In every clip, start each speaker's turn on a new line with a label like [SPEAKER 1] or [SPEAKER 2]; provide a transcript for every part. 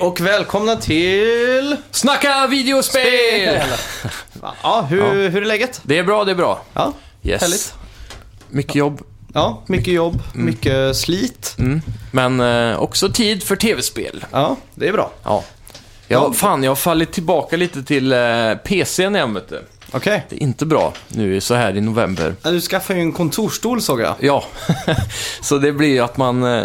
[SPEAKER 1] och välkomna till...
[SPEAKER 2] Snacka videospel!
[SPEAKER 1] Ja, hur, hur är läget?
[SPEAKER 2] Det är bra, det är bra.
[SPEAKER 1] Ja,
[SPEAKER 2] Yes.
[SPEAKER 1] Härligt.
[SPEAKER 2] Mycket jobb, Mm.
[SPEAKER 1] ja mycket jobb, mycket slit.
[SPEAKER 2] men eh, också tid för tv-spel.
[SPEAKER 1] Ja, det är bra.
[SPEAKER 2] Ja.
[SPEAKER 1] Ja.
[SPEAKER 2] Jag, fan, jag har fallit tillbaka lite till eh, PCn igen, vet du.
[SPEAKER 1] Okej.
[SPEAKER 2] Det är inte bra nu så här i november.
[SPEAKER 1] Ja, Du skaffade ju en kontorsstol såg jag.
[SPEAKER 2] Ja, så det blir ju att man eh,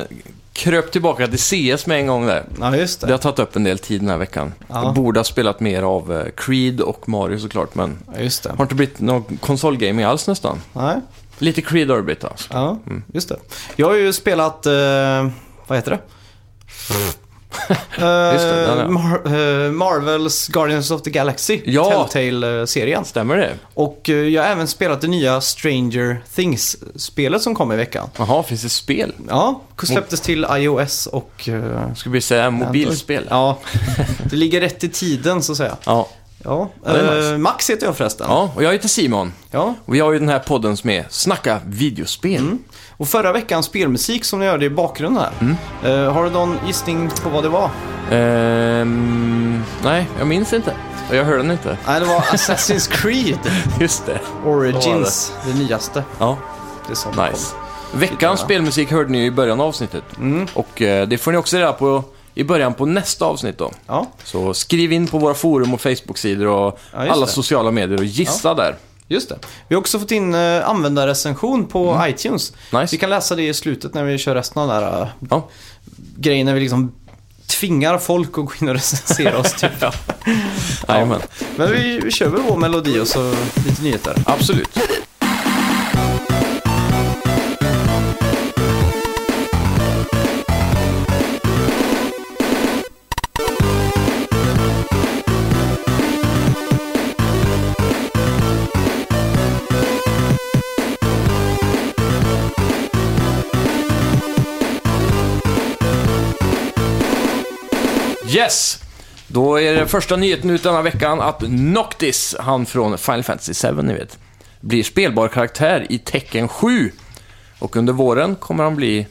[SPEAKER 2] kröp tillbaka till CS med en gång där.
[SPEAKER 1] Ja, just
[SPEAKER 2] Det
[SPEAKER 1] det.
[SPEAKER 2] har tagit upp en del tid den här veckan.
[SPEAKER 1] Ja.
[SPEAKER 2] Jag borde ha spelat mer av eh, Creed och Mario såklart, men
[SPEAKER 1] Ja, just det.
[SPEAKER 2] har inte blivit någon konsolgaming alls nästan.
[SPEAKER 1] Nej.
[SPEAKER 2] Lite Creed har det blivit alltså.
[SPEAKER 1] Ja, just det. Jag har ju spelat, eh, vad heter det?
[SPEAKER 2] det, den, ja.
[SPEAKER 1] Eh, Mar- eh, Marvels Guardians of the Galaxy,
[SPEAKER 2] Ja.
[SPEAKER 1] Telltale-serien.
[SPEAKER 2] Stämmer det?
[SPEAKER 1] Och eh, jag har även spelat det nya Stranger Things-spelet som kom i veckan.
[SPEAKER 2] Jaha, finns det spel?
[SPEAKER 1] Ja, släpptes till iOS och... eh,
[SPEAKER 2] Ska vi säga mobilspel?
[SPEAKER 1] Ja, det ligger rätt i tiden så att säga.
[SPEAKER 2] Ja.
[SPEAKER 1] Ja,
[SPEAKER 2] Ja, det är nice.
[SPEAKER 1] eh, Max heter jag förresten.
[SPEAKER 2] ja, och jag heter Simon.
[SPEAKER 1] Ja,
[SPEAKER 2] Och vi har ju den här podden som är Snacka videospel.
[SPEAKER 1] Mm. Och förra veckans spelmusik som ni hörde i bakgrunden här.
[SPEAKER 2] Mm.
[SPEAKER 1] eh, har du någon gissning på vad det var?
[SPEAKER 2] Ehm, nej, jag minns inte. Och jag hör den inte.
[SPEAKER 1] Nej, det var Assassin's Creed
[SPEAKER 2] Just det.
[SPEAKER 1] Origins, det. nyaste.
[SPEAKER 2] Ja,
[SPEAKER 1] Det är sånt som
[SPEAKER 2] nice. Veckans spelmusik hörde ni ju i början av avsnittet.
[SPEAKER 1] Mm.
[SPEAKER 2] Och eh, det får ni också reda på i början på nästa avsnitt då.
[SPEAKER 1] kom. Ja,
[SPEAKER 2] Så skriv in på våra forum och Facebook-sidor och
[SPEAKER 1] Ja, just
[SPEAKER 2] alla
[SPEAKER 1] det.
[SPEAKER 2] sociala medier och gissa där.
[SPEAKER 1] just det. Vi har också fått in eh, användarrecension på iTunes.
[SPEAKER 2] Mm. Nice.
[SPEAKER 1] Vi kan läsa det i slutet när vi kör resten av den här eh,
[SPEAKER 2] Ja.
[SPEAKER 1] grejen när vi liksom tvingar folk att gå in och recensera oss. Typ.
[SPEAKER 2] Jajamän.
[SPEAKER 1] Men vi, vi kör väl vår melodi och så lite nyheter.
[SPEAKER 2] Absolut. Yes! Då är det första nyheten ut denna veckan att Noctis, han från Final Fantasy VII, ni vet, blir spelbar karaktär i Tecken 7. Och under våren kommer han bli...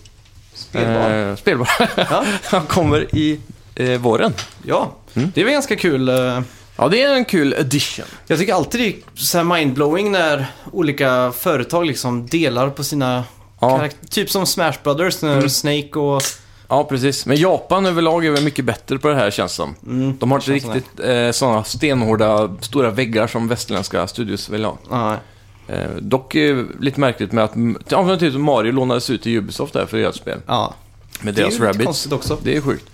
[SPEAKER 1] Spelbar.
[SPEAKER 2] Eh, spelbar.
[SPEAKER 1] Ja.
[SPEAKER 2] han kommer i eh, våren.
[SPEAKER 1] Ja,
[SPEAKER 2] Mm.
[SPEAKER 1] det är väl ganska kul. eh,
[SPEAKER 2] Ja, det är en kul addition.
[SPEAKER 1] Jag tycker alltid det är så här mindblowing när olika företag liksom delar på sina
[SPEAKER 2] Ja. Mm.
[SPEAKER 1] karaktärer. Typ som Smash Brothers när Snake och...
[SPEAKER 2] Ja, precis. Men Japan överlag är väl mycket bättre på det här, känns som. De har inte
[SPEAKER 1] Mm, känns som
[SPEAKER 2] riktigt eh, sådana stenhårda, stora väggar som västerländska studios vill ha.
[SPEAKER 1] Nej.
[SPEAKER 2] Eh, dock eh, lite märkligt med att ja, men typ Mario lånades ut till Ubisoft där för att göra ett spel.
[SPEAKER 1] Ja.
[SPEAKER 2] Med
[SPEAKER 1] Det är
[SPEAKER 2] deras
[SPEAKER 1] ju lite
[SPEAKER 2] Rabbids.
[SPEAKER 1] konstigt Mm. också.
[SPEAKER 2] Det är sjukt.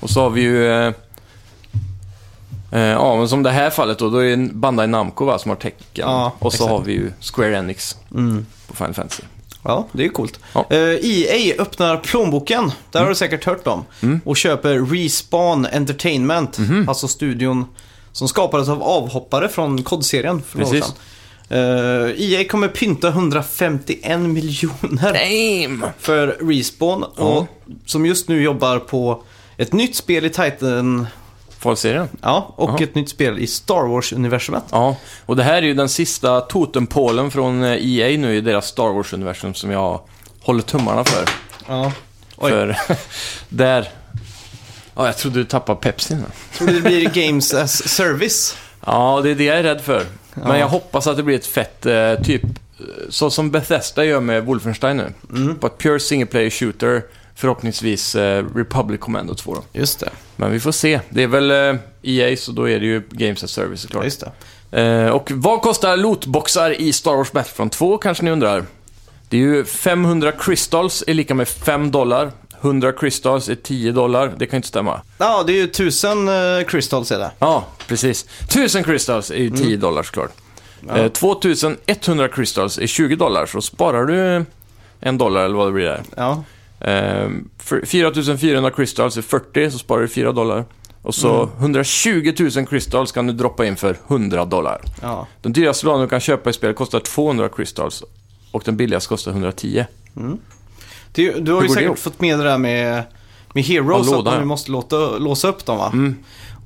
[SPEAKER 2] Och så har vi ju... Eh, eh, ja, men som det här fallet då, då är det Bandai Namco va, som har tecken.
[SPEAKER 1] Ja,
[SPEAKER 2] och så
[SPEAKER 1] exakt. Mm.
[SPEAKER 2] har vi ju Square Enix på Final Fantasy.
[SPEAKER 1] Ja, Mm. det är coolt.
[SPEAKER 2] Ja.
[SPEAKER 1] Eh, EA öppnar plånboken, där har du säkert hört om. Och köper Respawn Entertainment, alltså studion som skapades av avhoppare från kodserien för några år
[SPEAKER 2] Precis.
[SPEAKER 1] sedan. Eh, EA kommer pynta 151 miljoner
[SPEAKER 2] Damn!
[SPEAKER 1] för Respawn, och, som just nu jobbar på ett nytt spel i Titan
[SPEAKER 2] Falserien.
[SPEAKER 1] ja, och ett nytt spel i Star Wars-universumet.
[SPEAKER 2] Ja, och det här är ju den sista totempålen från eh, EA nu i deras Star Wars-universum som jag håller tummarna för.
[SPEAKER 1] Ja. Oj,
[SPEAKER 2] För där... Ja, jag trodde du tappade Pepsi nu.
[SPEAKER 1] tror du det blir Games as Service?
[SPEAKER 2] Ja, det är det jag är rädd för. Men jag hoppas att det blir ett fett, eh, typ, eh, så som Bethesda gör med Wolfenstein nu. På ett pure single player shooter, förhoppningsvis eh, Republic Commando 2 då.
[SPEAKER 1] Just det.
[SPEAKER 2] Men vi får se. Det är väl eh, EA, så då är det ju Games as Service
[SPEAKER 1] Ja,
[SPEAKER 2] såklart.
[SPEAKER 1] just det.
[SPEAKER 2] Eh, och vad kostar lootboxar i Star Wars Battlefront 2, kanske ni undrar? Det är ju 500 crystals är lika med 5 dollar. 100 crystals är 10 dollar. Det kan ju inte stämma.
[SPEAKER 1] Ja, det är ju tusen uh, crystals är det.
[SPEAKER 2] Ja, precis. 1000 crystals är ju 10 dollar såklart. Eh, 2100 crystals är 20 dollar, så sparar du en dollar eller vad det blir där.
[SPEAKER 1] Ja.
[SPEAKER 2] Eh, för- 4400 crystals är 40, så sparar du 4 dollar. Och så 120 000 crystals kan du droppa in för 100 dollar.
[SPEAKER 1] ja.
[SPEAKER 2] Den dyraste planen du kan köpa i spel kostar 200 crystals och den billigaste kostar 110.
[SPEAKER 1] Det, är ju- du har ju
[SPEAKER 2] Hur går det
[SPEAKER 1] säkert
[SPEAKER 2] ihop?
[SPEAKER 1] fått med det där med, med Heroes, att
[SPEAKER 2] Ja, låda, Mm.
[SPEAKER 1] man
[SPEAKER 2] ja.
[SPEAKER 1] ju måste låta, låsa upp dem va?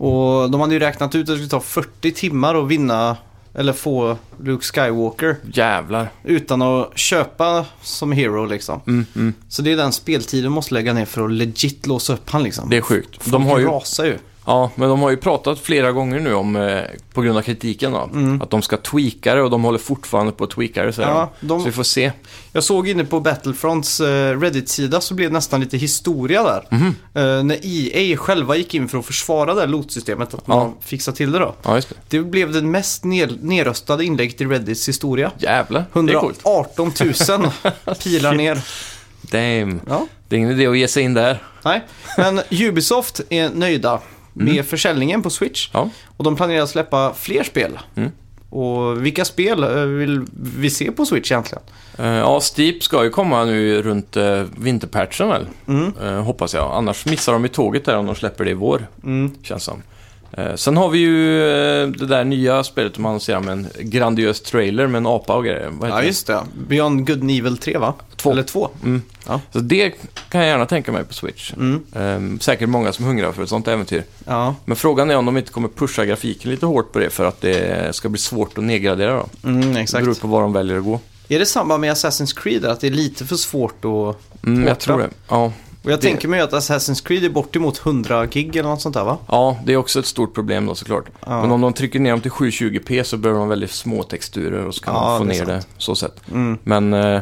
[SPEAKER 1] Och de hade ju räknat ut att det skulle ta 40 timmar att vinna Eller få Luke Skywalker.
[SPEAKER 2] Jävlar.
[SPEAKER 1] Utan att köpa som hero liksom.
[SPEAKER 2] Mm,
[SPEAKER 1] Så det är den speltiden du måste lägga ner för att legit låsa upp han liksom.
[SPEAKER 2] Det är sjukt.
[SPEAKER 1] De
[SPEAKER 2] De har ju,
[SPEAKER 1] rasar ju.
[SPEAKER 2] ja, men de har ju pratat flera gånger nu om, eh, på grund av kritiken då, att de ska tweaka det och de håller fortfarande på att tweaka det. Så,
[SPEAKER 1] Mm. Ja, de-
[SPEAKER 2] så vi får se.
[SPEAKER 1] Jag såg inne på Battlefronts eh, Reddit-sida så blev det nästan lite historia där.
[SPEAKER 2] Mhm.
[SPEAKER 1] Eh, när EA själva gick in för att försvara det här loot-systemet, att man
[SPEAKER 2] Ja.
[SPEAKER 1] fixar till det då.
[SPEAKER 2] Ja, just det.
[SPEAKER 1] Det blev det mest ner- nerröstade inlägget i Reddits historia.
[SPEAKER 2] Jävlar, det är coolt.
[SPEAKER 1] 118 000 pilar ner.
[SPEAKER 2] Damn.
[SPEAKER 1] Ja.
[SPEAKER 2] Det är ingen idé att ge sig in där.
[SPEAKER 1] Nej, men Ubisoft är nöjda med försäljningen på Switch.
[SPEAKER 2] Mm. Ja. Mm.
[SPEAKER 1] Och de planerar att släppa fler spel. Och vilka spel eh, vill vi se på Switch egentligen?
[SPEAKER 2] Eh, Ja, Steep ska ju komma nu runt eh, vinterpatchen väl?
[SPEAKER 1] Mm.
[SPEAKER 2] Eh, hoppas jag. Annars missar de ju tåget där om de släpper det i vår,
[SPEAKER 1] Mm.
[SPEAKER 2] känns som. Eh, sen har vi ju eh, det där nya spelet de annonserar med en grandiös trailer med en apa och grejer. Vad heter
[SPEAKER 1] Ja, just det. Beyond Good and Evil 3 va?
[SPEAKER 2] Två. Mm.
[SPEAKER 1] Eller 2.
[SPEAKER 2] det? Så det kan jag gärna tänka mig på Switch.
[SPEAKER 1] Mm.
[SPEAKER 2] Eh, säkert många som hungrar för ett sånt äventyr.
[SPEAKER 1] Ja.
[SPEAKER 2] Men frågan är om de inte kommer pusha grafiken lite hårt på det för att det ska bli svårt att nedgradera då.
[SPEAKER 1] Mm,
[SPEAKER 2] Det
[SPEAKER 1] exakt.
[SPEAKER 2] beror på var de väljer att gå.
[SPEAKER 1] Är det samma med Assassin's Creed? Att det är lite för svårt att...
[SPEAKER 2] Mm, jag
[SPEAKER 1] Borta.
[SPEAKER 2] tror det. Ja.
[SPEAKER 1] Och jag
[SPEAKER 2] Det-
[SPEAKER 1] tänker mig att Assassin's Creed är bortemot 100 gig eller något sånt där va?
[SPEAKER 2] Ja, det är också ett stort problem då såklart.
[SPEAKER 1] Ja.
[SPEAKER 2] Men om de trycker ner dem till 720p så behöver de väldigt små texturer och så kan
[SPEAKER 1] Ja,
[SPEAKER 2] man få
[SPEAKER 1] det är Mm.
[SPEAKER 2] ner det så sätt. Men eh,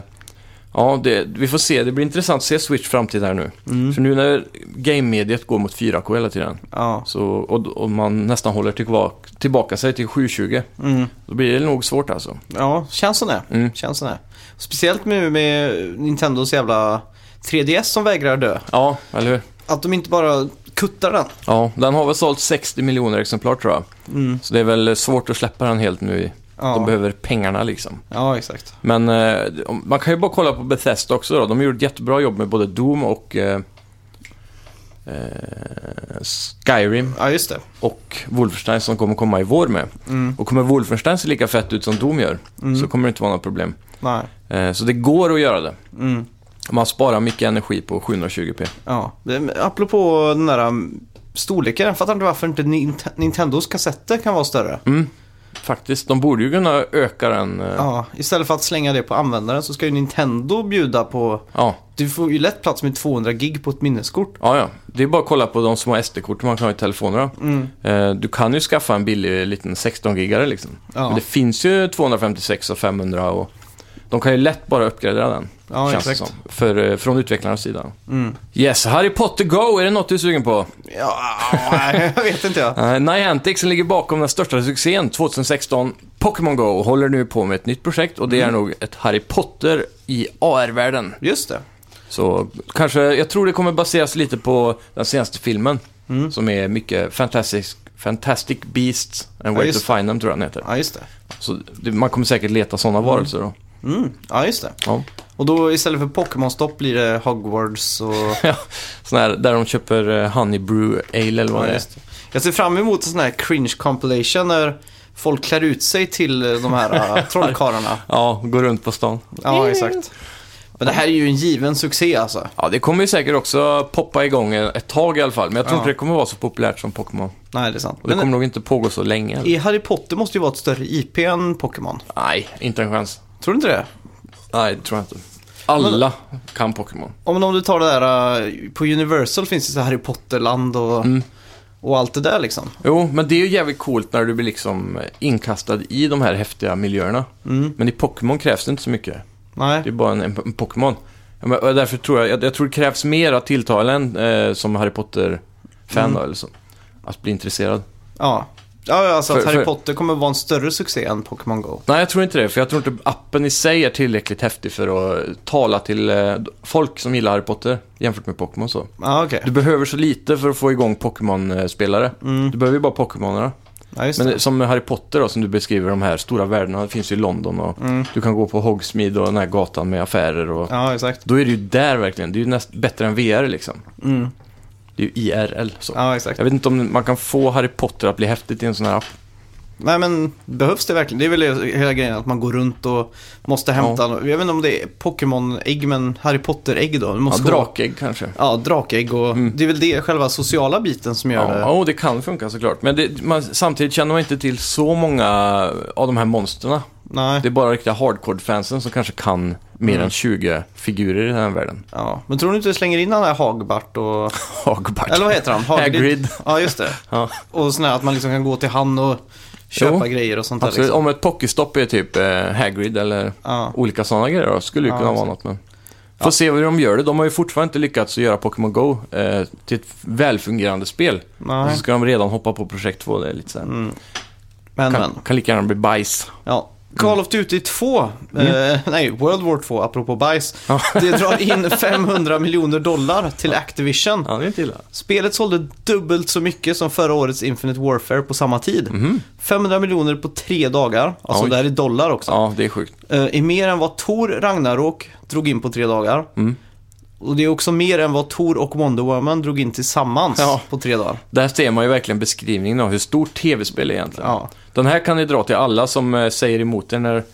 [SPEAKER 2] ja, det, vi får se. Det blir intressant att se Switch framtid här nu.
[SPEAKER 1] Mm.
[SPEAKER 2] För nu när game-mediet går mot 4K hela tiden
[SPEAKER 1] Ja.
[SPEAKER 2] så, och, och man nästan håller tillbaka, tillbaka sig till 720
[SPEAKER 1] Mm.
[SPEAKER 2] då blir det nog svårt alltså.
[SPEAKER 1] Ja, känns som det.
[SPEAKER 2] Mm.
[SPEAKER 1] Känns som det. Speciellt nu med Nintendos jävla 3DS som vägrar dö.
[SPEAKER 2] Ja, eller hur?
[SPEAKER 1] Att de inte bara kuttar den.
[SPEAKER 2] Ja, den har väl sålt 60 miljoner exemplar tror jag.
[SPEAKER 1] Mm.
[SPEAKER 2] Så det är väl svårt att släppa den helt nu.
[SPEAKER 1] Ja.
[SPEAKER 2] De behöver pengarna liksom.
[SPEAKER 1] Ja, exakt.
[SPEAKER 2] Men eh, om- man kan ju bara kolla på Bethesda också då. De gjorde ett jättebra jobb med både Doom och eh, eh, Skyrim
[SPEAKER 1] Ja, just det.
[SPEAKER 2] och Wolfenstein som kommer komma i vår med.
[SPEAKER 1] Mm.
[SPEAKER 2] Och kommer Wolfenstein se lika fett ut som Doom gör så kommer det inte vara något problem.
[SPEAKER 1] Nej.
[SPEAKER 2] Eh, så det går att göra det.
[SPEAKER 1] Mm.
[SPEAKER 2] Man sparar mycket energi på 720p.
[SPEAKER 1] Ja. Men Apropå den där um, storleken. Jag fattar inte varför inte Nint- Nintendos kassetter kan vara större.
[SPEAKER 2] Faktiskt, de borde ju kunna öka den. Eh, ja.
[SPEAKER 1] Ja, istället för att slänga det på användaren så ska ju Nintendo bjuda på...
[SPEAKER 2] Ja,
[SPEAKER 1] Du får ju lätt plats med 200 gig på ett minneskort.
[SPEAKER 2] ja, Det är bara att kolla på de små SD-kort man kan ha i telefonerna.
[SPEAKER 1] Mm.
[SPEAKER 2] Eh, du kan ju skaffa en billig liten 16-gigare liksom.
[SPEAKER 1] Ja.
[SPEAKER 2] Men det finns ju 256 och 500 och de kan ju lätt bara uppgradera den.
[SPEAKER 1] Ja,
[SPEAKER 2] känns det
[SPEAKER 1] exakt. Mm.
[SPEAKER 2] som, För, eh, från utvecklarnas sida. Yes, Harry Potter Go, är det något du är sugen på?
[SPEAKER 1] Ja, jag vet inte jag.
[SPEAKER 2] Uh, Niantic som ligger bakom den största succén 2016, Pokémon Go, håller nu på med ett nytt projekt och det
[SPEAKER 1] Mm.
[SPEAKER 2] är nog ett Harry Potter i AR-världen.
[SPEAKER 1] Just det.
[SPEAKER 2] Så kanske, jag tror det kommer baseras lite på den senaste filmen.
[SPEAKER 1] Mm.
[SPEAKER 2] Som är mycket Fantastic, Fantastic Beasts and Where
[SPEAKER 1] just
[SPEAKER 2] to Find Them tror jag den heter.
[SPEAKER 1] Ja, just det.
[SPEAKER 2] Så det, man kommer säkert leta sådana varelser då.
[SPEAKER 1] Mm. Ja, just det.
[SPEAKER 2] Ja.
[SPEAKER 1] Och då istället för Pokémon-stopp blir det Hogwarts och...
[SPEAKER 2] Ja, sån här där de köper eh, Honey Brew Ale eller vad
[SPEAKER 1] Ja,
[SPEAKER 2] det är.
[SPEAKER 1] just det. Jag ser fram emot en sån här cringe compilation när folk klär ut sig till eh, de här eh, trollkarlarna.
[SPEAKER 2] Ja, går runt på stan.
[SPEAKER 1] Ja, exakt. Men det här är ju en given succé alltså.
[SPEAKER 2] Ja, det kommer ju säkert också poppa igång ett tag i alla fall. Men jag tror
[SPEAKER 1] Ja.
[SPEAKER 2] inte det kommer vara så populärt som Pokémon.
[SPEAKER 1] Nej, det är sant.
[SPEAKER 2] Och det
[SPEAKER 1] Men eh,
[SPEAKER 2] kommer nog inte pågå så länge. Eller?
[SPEAKER 1] i Harry Potter måste ju vara ett större IP än Pokémon.
[SPEAKER 2] Nej, inte en chans.
[SPEAKER 1] Tror du inte det?
[SPEAKER 2] Nej, det tror jag inte. Alla kan Pokémon.
[SPEAKER 1] Om, om du tar det där, eh, på Universal finns det så här Harry Potter-land och,
[SPEAKER 2] Mm.
[SPEAKER 1] och allt det där liksom.
[SPEAKER 2] Jo, men det är ju jävligt coolt när du blir liksom inkastad i de här häftiga miljöerna. Men i Pokémon krävs det inte så mycket. Det
[SPEAKER 1] Nej,
[SPEAKER 2] är bara en, en Pokémon. Ja, men- och Därför tror jag, jag, jag tror det krävs mer att tilltala en eh, som Harry Potter-fan då, eller så. Att bli intresserad.
[SPEAKER 1] ja. Ja, alltså att
[SPEAKER 2] För-
[SPEAKER 1] Harry
[SPEAKER 2] för-
[SPEAKER 1] Potter kommer vara en större succé än Pokémon Go.
[SPEAKER 2] Nej, jag tror inte det. För jag tror inte appen i sig är tillräckligt häftig för att tala till eh, folk som gillar Harry Potter jämfört med Pokémon så.
[SPEAKER 1] Ja, okej.
[SPEAKER 2] Du behöver så lite för att få igång Pokémon-spelare. Du behöver ju bara Pokémonerna.
[SPEAKER 1] Mm. Ja, just
[SPEAKER 2] Men
[SPEAKER 1] det.
[SPEAKER 2] som med Harry Potter då, som du beskriver, de här stora värdena, det finns ju i London och du kan gå på Hogsmeade och den här gatan med affärer och...
[SPEAKER 1] Ja, exakt.
[SPEAKER 2] Då är det ju där verkligen, det är ju näst bättre än VR liksom.
[SPEAKER 1] Mm.
[SPEAKER 2] Det är ju IRL så.
[SPEAKER 1] Ja, exakt.
[SPEAKER 2] Jag vet inte om man kan få Harry Potter att bli häftigt i en sån här app.
[SPEAKER 1] Nej men behövs det verkligen? Det är väl hela grejen att man går runt och måste hämta, jag vet inte om det är Pokémon-ägg men Harry Potter-ägg då. Du
[SPEAKER 2] Ja,
[SPEAKER 1] måste gå-
[SPEAKER 2] drakägg kanske.
[SPEAKER 1] Ja, drakägg och det är väl det själva sociala biten som gör
[SPEAKER 2] Ja,
[SPEAKER 1] det.
[SPEAKER 2] ja, och det kan funka såklart. Men det, man, samtidigt känner man inte till så många av de här monsterna.
[SPEAKER 1] Nej.
[SPEAKER 2] Det är bara riktiga hardcore-fansen som kanske kan mer än 20 figurer i den här världen.
[SPEAKER 1] Ja. Men tror du inte du slänger in den här Hagbart och...
[SPEAKER 2] Hagbart.
[SPEAKER 1] Eller vad heter han? Hagrid.
[SPEAKER 2] Hagrid.
[SPEAKER 1] Ja, just det.
[SPEAKER 2] Ja,
[SPEAKER 1] Och sån här att man liksom kan gå till han och köpa
[SPEAKER 2] Jo,
[SPEAKER 1] grejer och sånt där.
[SPEAKER 2] absolut.
[SPEAKER 1] Liksom.
[SPEAKER 2] Om ett pokestopp är typ eh, Hagrid eller
[SPEAKER 1] Ja.
[SPEAKER 2] olika sådana grejer då, skulle ju
[SPEAKER 1] Ja,
[SPEAKER 2] kunna vara
[SPEAKER 1] exakt.
[SPEAKER 2] något. Men... Får se hur de gör det. De har ju fortfarande inte lyckats att göra Pokémon Go eh, till ett välfungerande spel. Och så
[SPEAKER 1] Nej. Mm.
[SPEAKER 2] ska de redan hoppa på projekt 2. Det är lite så här.
[SPEAKER 1] Men, men.
[SPEAKER 2] Kan, kan lika gärna bli bajs.
[SPEAKER 1] Ja. Call of Duty 2, eh, nej, World War 2, apropå bajs.
[SPEAKER 2] Mm. Ja.
[SPEAKER 1] Det drar in 500 miljoner dollar till Activision.
[SPEAKER 2] Ja, det är inte illa.
[SPEAKER 1] Spelet sålde dubbelt så mycket som förra årets Infinite Warfare på samma tid. 500 miljoner på tre dagar, alltså
[SPEAKER 2] Mhm. Oj.
[SPEAKER 1] det här är dollar också.
[SPEAKER 2] Ja, det är sjukt.
[SPEAKER 1] Eh, är mer än vad Tor Ragnarok drog in på tre dagar.
[SPEAKER 2] Mm.
[SPEAKER 1] Och det är också mer än vad Tor och Wonder Woman drog in tillsammans
[SPEAKER 2] Ja.
[SPEAKER 1] på tre dagar.
[SPEAKER 2] Där ser man ju verkligen beskrivningen av hur stort tv-spel är egentligen.
[SPEAKER 1] Ja.
[SPEAKER 2] Den här kan ni dra till alla som eh, säger emot den när,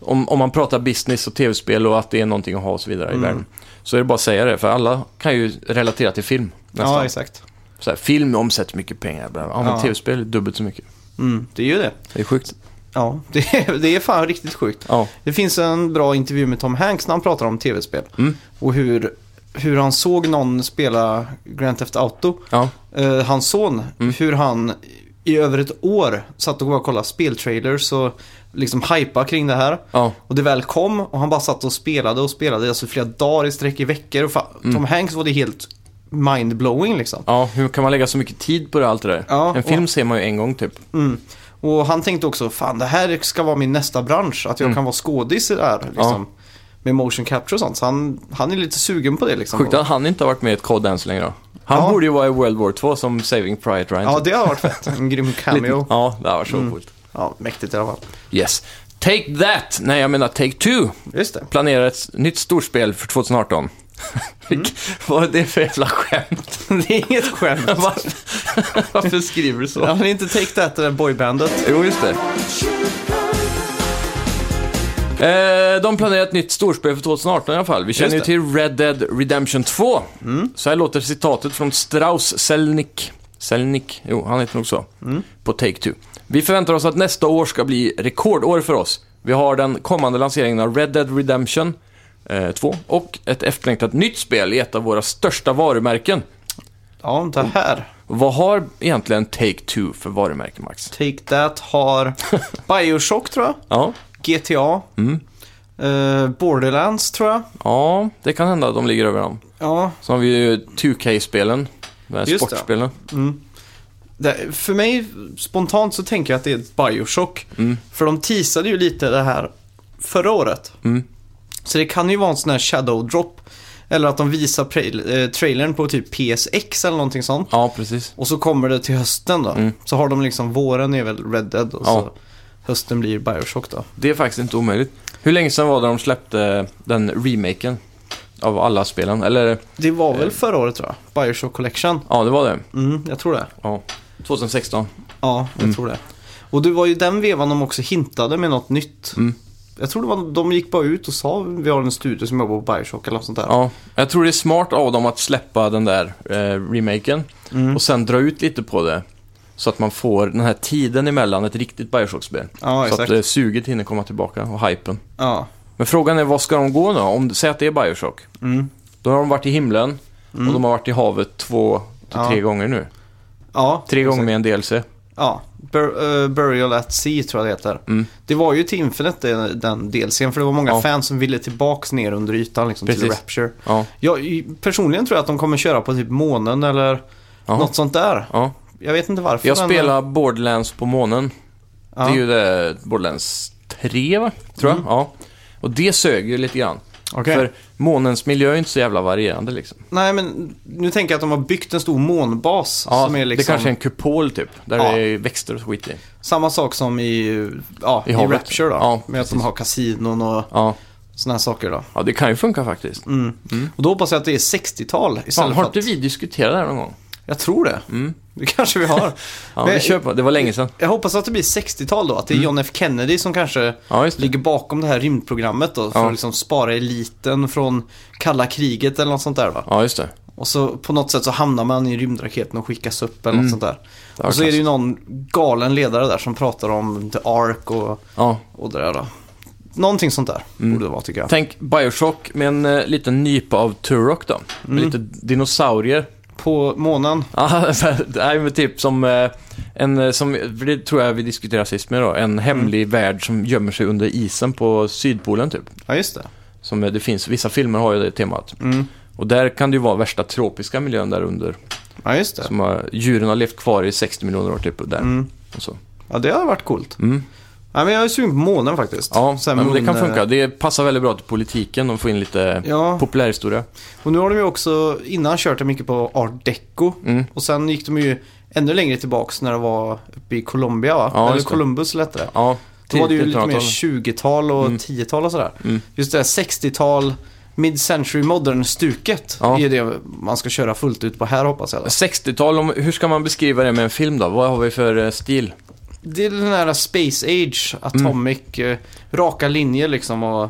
[SPEAKER 2] om, om man pratar business och tv-spel och att det är någonting att ha och så vidare
[SPEAKER 1] Mm.
[SPEAKER 2] i världen. Så är det bara att säga det, för alla kan ju relatera till film.
[SPEAKER 1] Ja,
[SPEAKER 2] Nästan.
[SPEAKER 1] exakt.
[SPEAKER 2] så här, film omsätter mycket pengar, bla, bla. Ja, men
[SPEAKER 1] Ja.
[SPEAKER 2] tv-spel är dubbelt så mycket.
[SPEAKER 1] Mm, det är ju det.
[SPEAKER 2] Det är sjukt.
[SPEAKER 1] Ja, det är, det är fan riktigt sjukt.
[SPEAKER 2] Ja,
[SPEAKER 1] Det finns en bra intervju med Tom Hanks när han pratar om tv-spel.
[SPEAKER 2] Mm.
[SPEAKER 1] Och hur, hur han såg någon spela Grand Theft Auto,
[SPEAKER 2] ja.
[SPEAKER 1] eh, hans son, hur han i över ett år satt och bara kollade speltrailers och liksom hypa kring det här.
[SPEAKER 2] ja.
[SPEAKER 1] Och det väl kom och han bara satt och spelade och spelade alltså flera dagar i sträck i veckor. Och fa- Tom Hanks var det helt mindblowing liksom.
[SPEAKER 2] Ja, hur kan man lägga så mycket tid på det, allt det där?
[SPEAKER 1] Ja,
[SPEAKER 2] en film ser man ju en gång typ.
[SPEAKER 1] Mm. Och han tänkte också, fan det här ska vara min nästa bransch, att jag kan vara skådis i det här. Liksom, Med motion capture och sånt. Så han, han är lite sugen på det liksom.
[SPEAKER 2] Sjukt att han inte har varit med i ett Cod Dance längre då. Han
[SPEAKER 1] Ja.
[SPEAKER 2] borde ju vara i World War 2 som Saving Private Ryan.
[SPEAKER 1] Ja, Mm.
[SPEAKER 2] typ.
[SPEAKER 1] det har varit fett. En grym cameo.
[SPEAKER 2] ja, det var så coolt.
[SPEAKER 1] Ja, mäktigt i alla fall.
[SPEAKER 2] Yes. Take That! Nej, jag menar Take Two
[SPEAKER 1] Just det.
[SPEAKER 2] planerar ett nytt storspel för 2018. Vad är det för jävla skämt?
[SPEAKER 1] Mm. det är inget skämt.
[SPEAKER 2] Varför, varför skriver du
[SPEAKER 1] Ja,
[SPEAKER 2] så?
[SPEAKER 1] men inte Take That, det där boybandet.
[SPEAKER 2] Jo, just det. Eh, de planerar ett nytt storspel för 2018 i alla fall. Vi känner ju
[SPEAKER 1] Just
[SPEAKER 2] till Red Dead Redemption 2. Så här låter citatet från Strauss Selnick. Selnick, jo, han heter nog så. På Take-Two. Vi förväntar oss att nästa år ska bli rekordår för oss. Vi har den kommande lanseringen av Red Dead Redemption eh, 2 och ett efterlängtat nytt spel i ett av våra största varumärken.
[SPEAKER 1] Ja, det här.
[SPEAKER 2] Och Vad har egentligen Take-Two för varumärke, Max?
[SPEAKER 1] Take That har Bioshock tror jag.
[SPEAKER 2] Ja.
[SPEAKER 1] GTA.
[SPEAKER 2] Mm.
[SPEAKER 1] Eh, Borderlands tror jag.
[SPEAKER 2] ja, det kan hända att de ligger över dem.
[SPEAKER 1] Ja,
[SPEAKER 2] Så har vi ju 2K-spelen. de här
[SPEAKER 1] Just det.
[SPEAKER 2] Sportspelen.
[SPEAKER 1] Det, för mig, spontant så tänker jag att det är ett Bioshock.
[SPEAKER 2] Mm.
[SPEAKER 1] För de teasade ju lite det här förra året.
[SPEAKER 2] Mm.
[SPEAKER 1] Så det kan ju vara en sån här shadow drop. Eller att de visar pra- eh, trailern på typ PSX eller någonting sånt.
[SPEAKER 2] Ja, precis.
[SPEAKER 1] Och så kommer det till hösten då. Så har de liksom, våren är väl Red Dead och så
[SPEAKER 2] Mm. Ja.
[SPEAKER 1] hösten blir Bioshock då.
[SPEAKER 2] Det är faktiskt inte omöjligt. Hur länge sedan var det de släppte den remaken av alla spelen? Eller,
[SPEAKER 1] Det var
[SPEAKER 2] Eh.
[SPEAKER 1] väl förra året tror jag, Bioshock Collection.
[SPEAKER 2] ja, det var det.
[SPEAKER 1] Mm, jag tror det.
[SPEAKER 2] Ja. 2016.
[SPEAKER 1] Ja, jag
[SPEAKER 2] Mm.
[SPEAKER 1] tror det. Och det var ju den vevan de också hintade med något nytt.
[SPEAKER 2] Mm.
[SPEAKER 1] Jag tror det var, de gick bara ut och sa vi har en studio som jobbar på Bioshock eller något sånt där.
[SPEAKER 2] Ja. Jag tror det är smart av dem att släppa den där eh, remaken
[SPEAKER 1] Mm.
[SPEAKER 2] och sen dra ut lite på det. Så att man får den här tiden emellan ett riktigt Bioshock-spel.
[SPEAKER 1] Ja,
[SPEAKER 2] så att
[SPEAKER 1] exakt.
[SPEAKER 2] eh, suget hinner komma tillbaka och hypen.
[SPEAKER 1] Ja.
[SPEAKER 2] Men frågan är, vad ska de gå nu? Om, säg att det är Bioshock.
[SPEAKER 1] Mm.
[SPEAKER 2] Då har de varit i himlen och de har varit i havet två till
[SPEAKER 1] Ja.
[SPEAKER 2] tre gånger nu.
[SPEAKER 1] Ja,
[SPEAKER 2] Tre gånger med en DLC.
[SPEAKER 1] ja. Bur- eh, Burial at Sea tror jag det heter.
[SPEAKER 2] Mm.
[SPEAKER 1] Det var ju till Infinite den, den delscenen för det var många
[SPEAKER 2] Ja.
[SPEAKER 1] fans som ville tillbaks ner under ytan liksom, till
[SPEAKER 2] Precis.
[SPEAKER 1] Rapture.
[SPEAKER 2] Ja.
[SPEAKER 1] Jag, i- personligen tror jag att de kommer köra på typ månen eller
[SPEAKER 2] Ja.
[SPEAKER 1] något sånt där.
[SPEAKER 2] ja.
[SPEAKER 1] Jag vet inte varför.
[SPEAKER 2] Jag
[SPEAKER 1] men-
[SPEAKER 2] spelar Borderlands på månen.
[SPEAKER 1] Ja. Mm.
[SPEAKER 2] Det är ju det, Borderlands 3, va? Tror jag. Ja. Och det sög ju lite grann.
[SPEAKER 1] Okej.
[SPEAKER 2] För månens miljö är inte så jävla varierande liksom.
[SPEAKER 1] eh, Nej, men nu tänker jag att de har byggt en stor månbas
[SPEAKER 2] Ja,
[SPEAKER 1] som är liksom...
[SPEAKER 2] Det kanske är en kupol typ, där
[SPEAKER 1] Ja.
[SPEAKER 2] det är växter och skit i.
[SPEAKER 1] Samma sak som i, ja,
[SPEAKER 2] I
[SPEAKER 1] i,
[SPEAKER 2] havet.
[SPEAKER 1] Rapture då.
[SPEAKER 2] Ja,
[SPEAKER 1] med att de
[SPEAKER 2] precis.
[SPEAKER 1] har kasinon och
[SPEAKER 2] Ja.
[SPEAKER 1] sådana här saker då.
[SPEAKER 2] ja, det kan ju funka faktiskt.
[SPEAKER 1] Och då hoppas jag att det är 60-tal
[SPEAKER 2] Fan,
[SPEAKER 1] istället
[SPEAKER 2] Mm. har
[SPEAKER 1] Mm, för
[SPEAKER 2] inte
[SPEAKER 1] att...
[SPEAKER 2] vi diskuterat det här någon gång?
[SPEAKER 1] Jag Jag tror det. Det kanske vi har.
[SPEAKER 2] Ja,
[SPEAKER 1] Men
[SPEAKER 2] vi
[SPEAKER 1] jag-
[SPEAKER 2] kör på. Det var länge sedan.
[SPEAKER 1] Jag hoppas att det blir 60-tal då, att det är John F Kennedy som kanske
[SPEAKER 2] Ja, just det.
[SPEAKER 1] ligger bakom det här rymdprogrammet då, för
[SPEAKER 2] Ja.
[SPEAKER 1] att liksom spara eliten från kalla kriget eller något sånt där va.
[SPEAKER 2] Ja, just det.
[SPEAKER 1] Och så på något sätt så hamnar man i rymdraketen och skickas upp
[SPEAKER 2] Mm.
[SPEAKER 1] eller något sånt där.
[SPEAKER 2] var
[SPEAKER 1] Och så är det ju någon galen ledare där som pratar om The Ark och,
[SPEAKER 2] Ja.
[SPEAKER 1] och det där då. Någonting sånt där
[SPEAKER 2] Mm.
[SPEAKER 1] borde det vara tycker jag.
[SPEAKER 2] Tänk Bioshock med en eh, liten nypa av Turok då.
[SPEAKER 1] Mm.
[SPEAKER 2] Med lite dinosaurier. Ah,
[SPEAKER 1] På månen,
[SPEAKER 2] Ja, Nej, men typ som eh, en, eh, som, för det tror jag vi diskuterade sist med då, en
[SPEAKER 1] Mm.
[SPEAKER 2] hemlig värld som gömmer sig under isen på Sydpolen typ.
[SPEAKER 1] ja just det.
[SPEAKER 2] Som eh, det finns, vissa filmer har ju det temat.
[SPEAKER 1] Mm.
[SPEAKER 2] Och där kan det ju vara värsta tropiska miljön där under.
[SPEAKER 1] Ja just det.
[SPEAKER 2] Som har, djuren har levt kvar i 60 miljoner år typ och där.
[SPEAKER 1] Mm.
[SPEAKER 2] Och så.
[SPEAKER 1] Ja det hade varit coolt.
[SPEAKER 2] Mm.
[SPEAKER 1] Nej men jag är sugen på månen faktiskt.
[SPEAKER 2] Ja,
[SPEAKER 1] Så här
[SPEAKER 2] men det kan
[SPEAKER 1] mun-
[SPEAKER 2] funka. Det passar väldigt bra till politiken och få in lite
[SPEAKER 1] eh, Ja.
[SPEAKER 2] populärhistoria.
[SPEAKER 1] Och nu har de ju också innan kört det mycket på art deco.
[SPEAKER 2] Mm.
[SPEAKER 1] Och sen gick de ju ännu längre tillbaks när det var uppe i Colombia va?
[SPEAKER 2] Ja,
[SPEAKER 1] Eller
[SPEAKER 2] just det.
[SPEAKER 1] Columbus lättare.
[SPEAKER 2] Ja,
[SPEAKER 1] Då var det ju
[SPEAKER 2] tidigt
[SPEAKER 1] lite mer
[SPEAKER 2] 1900-tal.
[SPEAKER 1] 20-tal och 10-tal och sådär.
[SPEAKER 2] Mm.
[SPEAKER 1] Just det här 60-tal, mid-century modern-stuket
[SPEAKER 2] Ja.
[SPEAKER 1] är det man ska köra fullt ut på här hoppas jag.
[SPEAKER 2] 60-tal, om- hur ska man beskriva det med en film då? Vad har vi för eh, stil?
[SPEAKER 1] Det är den här space age, atomic,
[SPEAKER 2] Mm.
[SPEAKER 1] eh, raka linjer liksom och...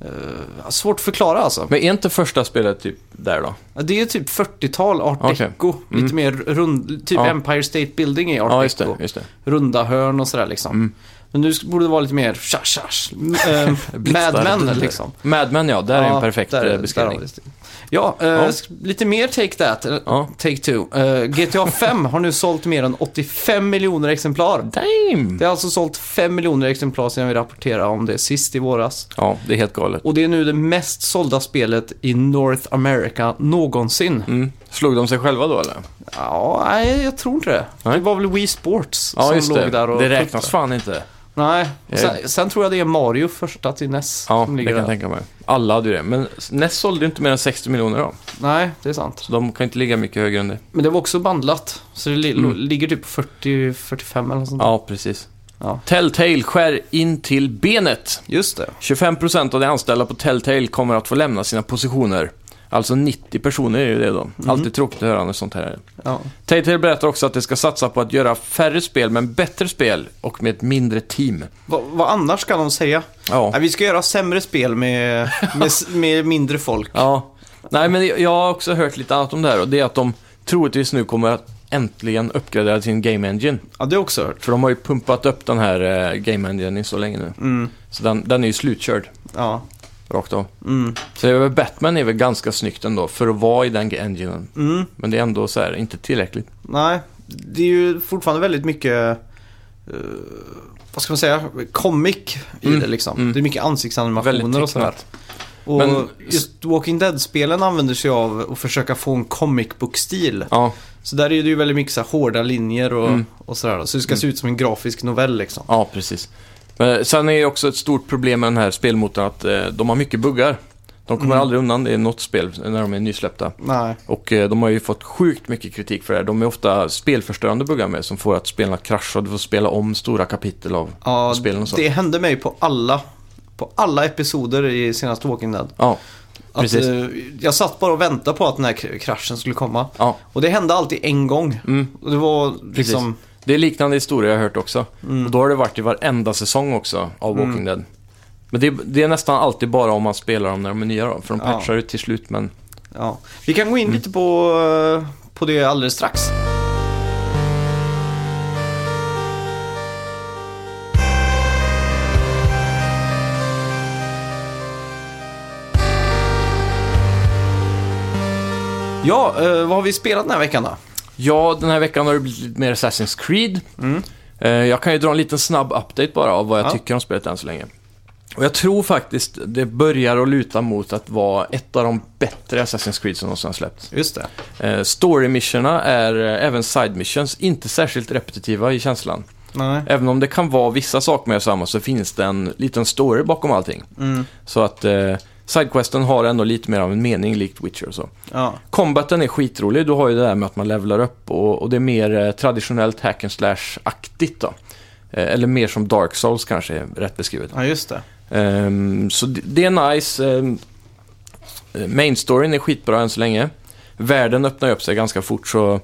[SPEAKER 1] eh, svårt att förklara alltså.
[SPEAKER 2] Men är inte första spelet typ där då?
[SPEAKER 1] Ja, Det är typ 40-tal art
[SPEAKER 2] Okej. Mm.
[SPEAKER 1] deco. Lite mer rund, typ
[SPEAKER 2] Ja.
[SPEAKER 1] Empire State Building är art
[SPEAKER 2] Ja, just det. Mm.
[SPEAKER 1] deco.
[SPEAKER 2] Just det.
[SPEAKER 1] Runda hörn och sådär liksom. Men nu sk- borde det vara lite mer tja, tja, äh,
[SPEAKER 2] Blixtar,
[SPEAKER 1] Mad Men
[SPEAKER 2] dunder.
[SPEAKER 1] liksom.
[SPEAKER 2] Mad Men ja, där är
[SPEAKER 1] Ja,
[SPEAKER 2] en perfekt
[SPEAKER 1] där-
[SPEAKER 2] eh,
[SPEAKER 1] där har
[SPEAKER 2] beskrivning.
[SPEAKER 1] vi det. Ja, eh,
[SPEAKER 2] Ja.
[SPEAKER 1] sk- lite mer Take That, eller
[SPEAKER 2] Ja.
[SPEAKER 1] Take Two. Eh, GTA 5 har nu sålt mer än 85 miljoner exemplar.
[SPEAKER 2] Damn!
[SPEAKER 1] Det har alltså sålt 5 miljoner exemplar sedan vi rapporterade om det sist i våras.
[SPEAKER 2] Ja, det är helt galet.
[SPEAKER 1] Och det är nu det mest sålda spelet i North America någonsin.
[SPEAKER 2] Mm. Slog de sig själva då eller?
[SPEAKER 1] Ja, nej, jag tror inte det.
[SPEAKER 2] Nej.
[SPEAKER 1] Det var väl Wii Sports
[SPEAKER 2] Ja,
[SPEAKER 1] som
[SPEAKER 2] just
[SPEAKER 1] låg
[SPEAKER 2] det.
[SPEAKER 1] där och
[SPEAKER 2] det räknas
[SPEAKER 1] puttade.
[SPEAKER 2] fan inte.
[SPEAKER 1] Nej, och
[SPEAKER 2] Jag
[SPEAKER 1] sen, sen tror jag det är Mario första till NES
[SPEAKER 2] Ja,
[SPEAKER 1] som
[SPEAKER 2] det
[SPEAKER 1] ligger
[SPEAKER 2] kan jag
[SPEAKER 1] där.
[SPEAKER 2] tänka mig. Alla hade ju det. Men NES sålde ju inte mer än 60 miljoner då.
[SPEAKER 1] Nej, det är sant.
[SPEAKER 2] Så de kan inte ligga mycket högre än det.
[SPEAKER 1] Men det var också bandlat, så det li- lo- ligger typ 40-45 eller något sånt.
[SPEAKER 2] Mm. Ja, precis.
[SPEAKER 1] Ja.
[SPEAKER 2] Telltale skär in till benet.
[SPEAKER 1] Just det.
[SPEAKER 2] 25% av de anställda på Telltale kommer att få lämna sina positioner. Alltså 90 personer är ju det då. Alltid tråkigt att höra när sånt här är.
[SPEAKER 1] Ja.
[SPEAKER 2] Telltale berättar också att de ska satsa på att göra färre spel men bättre spel och med ett mindre team.
[SPEAKER 1] Vad, vad annars kan de säga?
[SPEAKER 2] Ja.
[SPEAKER 1] Nej, vi ska göra sämre spel med, med, s- med mindre folk.
[SPEAKER 2] ja. Nej, men jag har också hört lite annat om det här och det är att de troligtvis nu kommer att äntligen uppgradera sin Game Engine.
[SPEAKER 1] Ja, det har jag också hört.
[SPEAKER 2] För de har ju pumpat upp den här eh, Game Engine i så länge nu.
[SPEAKER 1] Mm.
[SPEAKER 2] Så den, den är ju slutkörd,
[SPEAKER 1] Ja.
[SPEAKER 2] rakt av.
[SPEAKER 1] Mm.
[SPEAKER 2] Så det är väl Batman är väl ganska snyggt ändå, för att vara i den enginen.
[SPEAKER 1] Mm.
[SPEAKER 2] Men det är ändå så här, inte tillräckligt.
[SPEAKER 1] Nej, det är ju fortfarande väldigt mycket, eh, vad ska man säga, comic i
[SPEAKER 2] Mm,
[SPEAKER 1] det liksom.
[SPEAKER 2] mm.
[SPEAKER 1] Det är mycket
[SPEAKER 2] Väldigt
[SPEAKER 1] ansiktsanimationer och sådär.
[SPEAKER 2] tecknat.
[SPEAKER 1] Och
[SPEAKER 2] Men-
[SPEAKER 1] just Walking Dead-spelen använder sig av att försöka få en comic book-stil.
[SPEAKER 2] Ja,
[SPEAKER 1] Så där är det ju väldigt mycket så här hårda linjer och,
[SPEAKER 2] Mm.
[SPEAKER 1] och sådär. då. Så det ska se ut som en grafisk novell liksom.
[SPEAKER 2] ja precis. Men sen är ju också ett stort problem med den här spelmotorn att eh, de har mycket buggar. De
[SPEAKER 1] Mm.
[SPEAKER 2] kommer aldrig undan det i något spel när de är nysläppta.
[SPEAKER 1] Nej,
[SPEAKER 2] Och eh, de har ju fått sjukt mycket kritik för det här. De är ofta spelförstörande buggar med som får att spelarna kraschar och du får spela om stora kapitel av
[SPEAKER 1] ja,
[SPEAKER 2] spelen och så.
[SPEAKER 1] det hände mig på alla, på alla episoder i senaste Walking Dead.
[SPEAKER 2] Ja,
[SPEAKER 1] Att,
[SPEAKER 2] Precis.
[SPEAKER 1] eh, jag satt bara och väntade på att den här kr- kraschen skulle komma.
[SPEAKER 2] ja. Mm.
[SPEAKER 1] Och det hände alltid en gång. Och det var
[SPEAKER 2] Precis.
[SPEAKER 1] liksom... Mm.
[SPEAKER 2] Det är liknande historia jag har hört också. Och då har det varit i varenda säsong också av Walking Dead. Men det, det är nästan alltid bara om man spelar dem när de är nya då, för de
[SPEAKER 1] Ja.
[SPEAKER 2] patchar det till slut men...
[SPEAKER 1] Ja. Vi kan gå in lite på, eh, på det alldeles strax. Ja, eh, vad har vi spelat den här veckan då?
[SPEAKER 2] Ja, den här veckan har det blivit lite mer Assassin's Creed. Eh, Jag kan ju dra en liten snabb update bara av vad jag
[SPEAKER 1] Ja.
[SPEAKER 2] tycker om spelet än så länge. Och jag tror faktiskt det börjar att luta mot att vara ett av de bättre Assassin's Creed som någonsin har släppts.
[SPEAKER 1] Just det.
[SPEAKER 2] Eh, Story-missionerna är, eh, även side-missions, inte särskilt repetitiva i känslan.
[SPEAKER 1] Nej.
[SPEAKER 2] Även om det kan vara vissa saker med samma så finns det en liten story bakom allting.
[SPEAKER 1] Mm.
[SPEAKER 2] Så att eh, Sidequesten har ändå lite mer av en mening likt Witcher och så.
[SPEAKER 1] Ja.
[SPEAKER 2] Combaten är skitrolig, du har ju det där med att man levlar upp och, och det är mer eh, traditionellt hack and slash-aktigt då. Eh, eller mer som Dark Souls kanske är rätt beskrivet.
[SPEAKER 1] ja, just det.
[SPEAKER 2] Ehm, så det, det är nice. eh, Um, main storyn är skitbra än så länge. Världen öppnar ju upp sig ganska fort så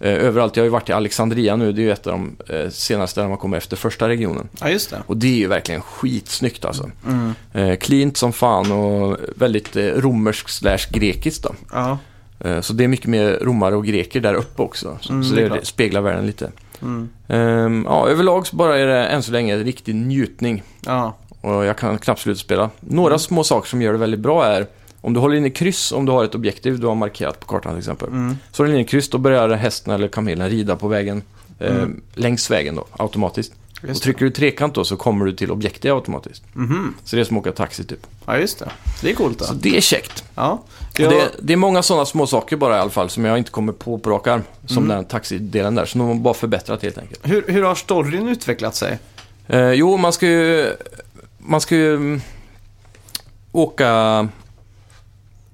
[SPEAKER 2] Eh, överallt. Jag har ju varit i Alexandria nu, det är ju ett av de eh, senaste där man kommer efter första regionen.
[SPEAKER 1] Ja, just det.
[SPEAKER 2] Och det är ju verkligen skitsnyggt alltså.
[SPEAKER 1] Mm.
[SPEAKER 2] Eh, cleant som fan och väldigt eh, romerskt slash grekiskt då.
[SPEAKER 1] Ja.
[SPEAKER 2] Eh, Så det är mycket mer romare och greker där uppe också. Så,
[SPEAKER 1] Mm,
[SPEAKER 2] så
[SPEAKER 1] det är
[SPEAKER 2] det,
[SPEAKER 1] klart.
[SPEAKER 2] speglar världen lite.
[SPEAKER 1] Mm.
[SPEAKER 2] Ehm, ja, överlag så bara är det än så länge en riktig njutning.
[SPEAKER 1] Ja.
[SPEAKER 2] Och jag kan knappt slutspela. Några
[SPEAKER 1] Mm.
[SPEAKER 2] små saker som gör det väldigt bra är om du håller in i kryss, om du har ett objektiv du har markerat på kartan till exempel.
[SPEAKER 1] Mm.
[SPEAKER 2] Så håller du in i kryss, då börjar hästen eller kamelen rida på vägen. ehm,
[SPEAKER 1] Mm.
[SPEAKER 2] Längs vägen då, automatiskt.
[SPEAKER 1] Just
[SPEAKER 2] och trycker du trekant då så kommer du till objektet automatiskt.
[SPEAKER 1] det. Mhm.
[SPEAKER 2] Så det är som att åka taxi typ.
[SPEAKER 1] Ja, just det. Det är coolt. Då.
[SPEAKER 2] Så det är käckt.
[SPEAKER 1] Ja.
[SPEAKER 2] Och
[SPEAKER 1] Jag,
[SPEAKER 2] Det, det är många sådana små saker bara i alla fall som jag inte kommer på på rak arm. Som den taxidelen där. Så de har bara förbättrat helt enkelt.
[SPEAKER 1] Hur, hur har storyn utvecklat sig?
[SPEAKER 2] Eh, jo, man ska ju... Man ska ju mm, åka...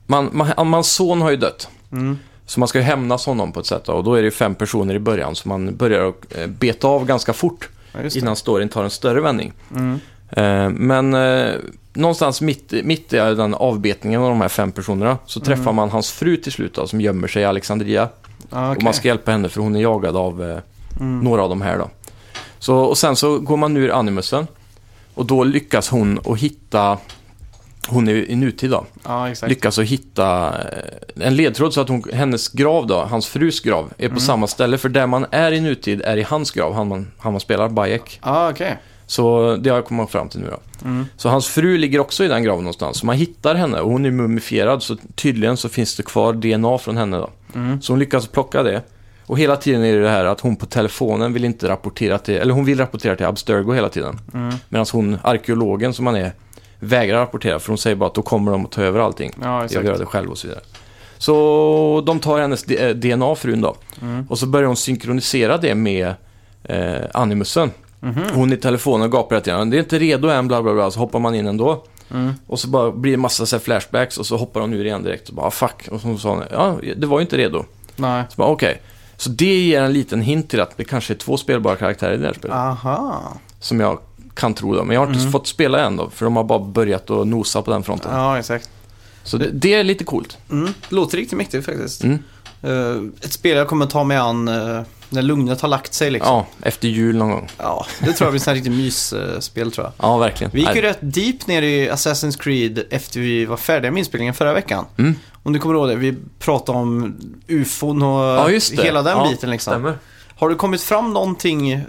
[SPEAKER 2] Man, man, mans son har ju dött.
[SPEAKER 1] Mm.
[SPEAKER 2] Så man ska ju hämnas honom på ett sätt. då. Och då är det ju fem personer i början. Så man börjar att eh, beta av ganska fort.
[SPEAKER 1] Ja, just det.
[SPEAKER 2] Innan storyn tar en större vändning.
[SPEAKER 1] Mm.
[SPEAKER 2] Eh, Men eh, någonstans mitt, mitt i den avbetningen av de här fem personerna så träffar
[SPEAKER 1] Mm.
[SPEAKER 2] man hans fru till slut då, som gömmer sig i Alexandria.
[SPEAKER 1] Ja,
[SPEAKER 2] Och
[SPEAKER 1] Ah, okej.
[SPEAKER 2] man ska hjälpa henne för hon är jagad av eh,
[SPEAKER 1] Mm.
[SPEAKER 2] några av de här då. Så, och sen så går man ur animusen och då lyckas hon att hitta, hon är ju i nutid då,
[SPEAKER 1] Ja, Ah, exakt.
[SPEAKER 2] lyckas att hitta eh, en ledtråd så att hon, hennes grav då, hans frus grav, är på
[SPEAKER 1] Mm.
[SPEAKER 2] samma ställe. För där man är i nutid är i hans grav, han man, han man spelar, Bayek.
[SPEAKER 1] Ja, Ah, okej.
[SPEAKER 2] Så det har jag kommit fram till nu då.
[SPEAKER 1] Mm.
[SPEAKER 2] Så hans fru ligger också i den graven någonstans. Så man hittar henne och hon är mumifierad så tydligen så finns det kvar DNA från henne då.
[SPEAKER 1] Mm.
[SPEAKER 2] Så hon lyckas plocka det. Och hela tiden är det det här att hon på telefonen vill inte rapportera till, eller hon vill rapportera till Abstergo hela tiden.
[SPEAKER 1] Mm.
[SPEAKER 2] Medan hon, arkeologen som han är, vägrar rapportera för hon säger bara att då kommer de att ta över allting.
[SPEAKER 1] Ja,
[SPEAKER 2] Jag
[SPEAKER 1] exakt.
[SPEAKER 2] vill göra det själv och så vidare. Så de tar hennes D- eh, DNA, frun då.
[SPEAKER 1] Mm.
[SPEAKER 2] Och så börjar hon synkronisera det med eh, animusen.
[SPEAKER 1] Mhm.
[SPEAKER 2] Hon i telefonen gapar hela tiden. Det är inte redo än, bla bla bla. Så hoppar man in ändå.
[SPEAKER 1] Mm.
[SPEAKER 2] Och så bara blir det massa så här flashbacks och så hoppar hon ur igen direkt och bara ah, fuck. Och så sa hon, ja, det var ju inte redo.
[SPEAKER 1] Nej.
[SPEAKER 2] Så bara okej. Så det ger en liten hint till att det kanske är två spelbara karaktärer i det här spelet.
[SPEAKER 1] Aha.
[SPEAKER 2] Som jag kan tro då. Men jag har inte fått spela än då. För de har bara börjat att nosa på den fronten.
[SPEAKER 1] Mm. Ja, exakt.
[SPEAKER 2] Så det, det är lite coolt.
[SPEAKER 1] Mm. Låter riktigt mäktigt faktiskt.
[SPEAKER 2] Mm.
[SPEAKER 1] Eh, ett spel jag kommer ta mig an eh, när lugnet har lagt sig liksom.
[SPEAKER 2] Ja, efter jul någon gång.
[SPEAKER 1] Ja, det tror jag blir ett sånt här riktigt mysspel tror jag.
[SPEAKER 2] Ja, verkligen.
[SPEAKER 1] Vi gick ju
[SPEAKER 2] Nej.
[SPEAKER 1] rätt deep ner i Assassin's Creed efter vi var färdiga med inspelningen förra veckan.
[SPEAKER 2] Mm.
[SPEAKER 1] Om du kommer ihåg det, vi pratade om ufon och
[SPEAKER 2] Ja, just det.
[SPEAKER 1] hela den
[SPEAKER 2] ja,
[SPEAKER 1] biten liksom.
[SPEAKER 2] Stämmer.
[SPEAKER 1] Har du kommit fram någonting eh,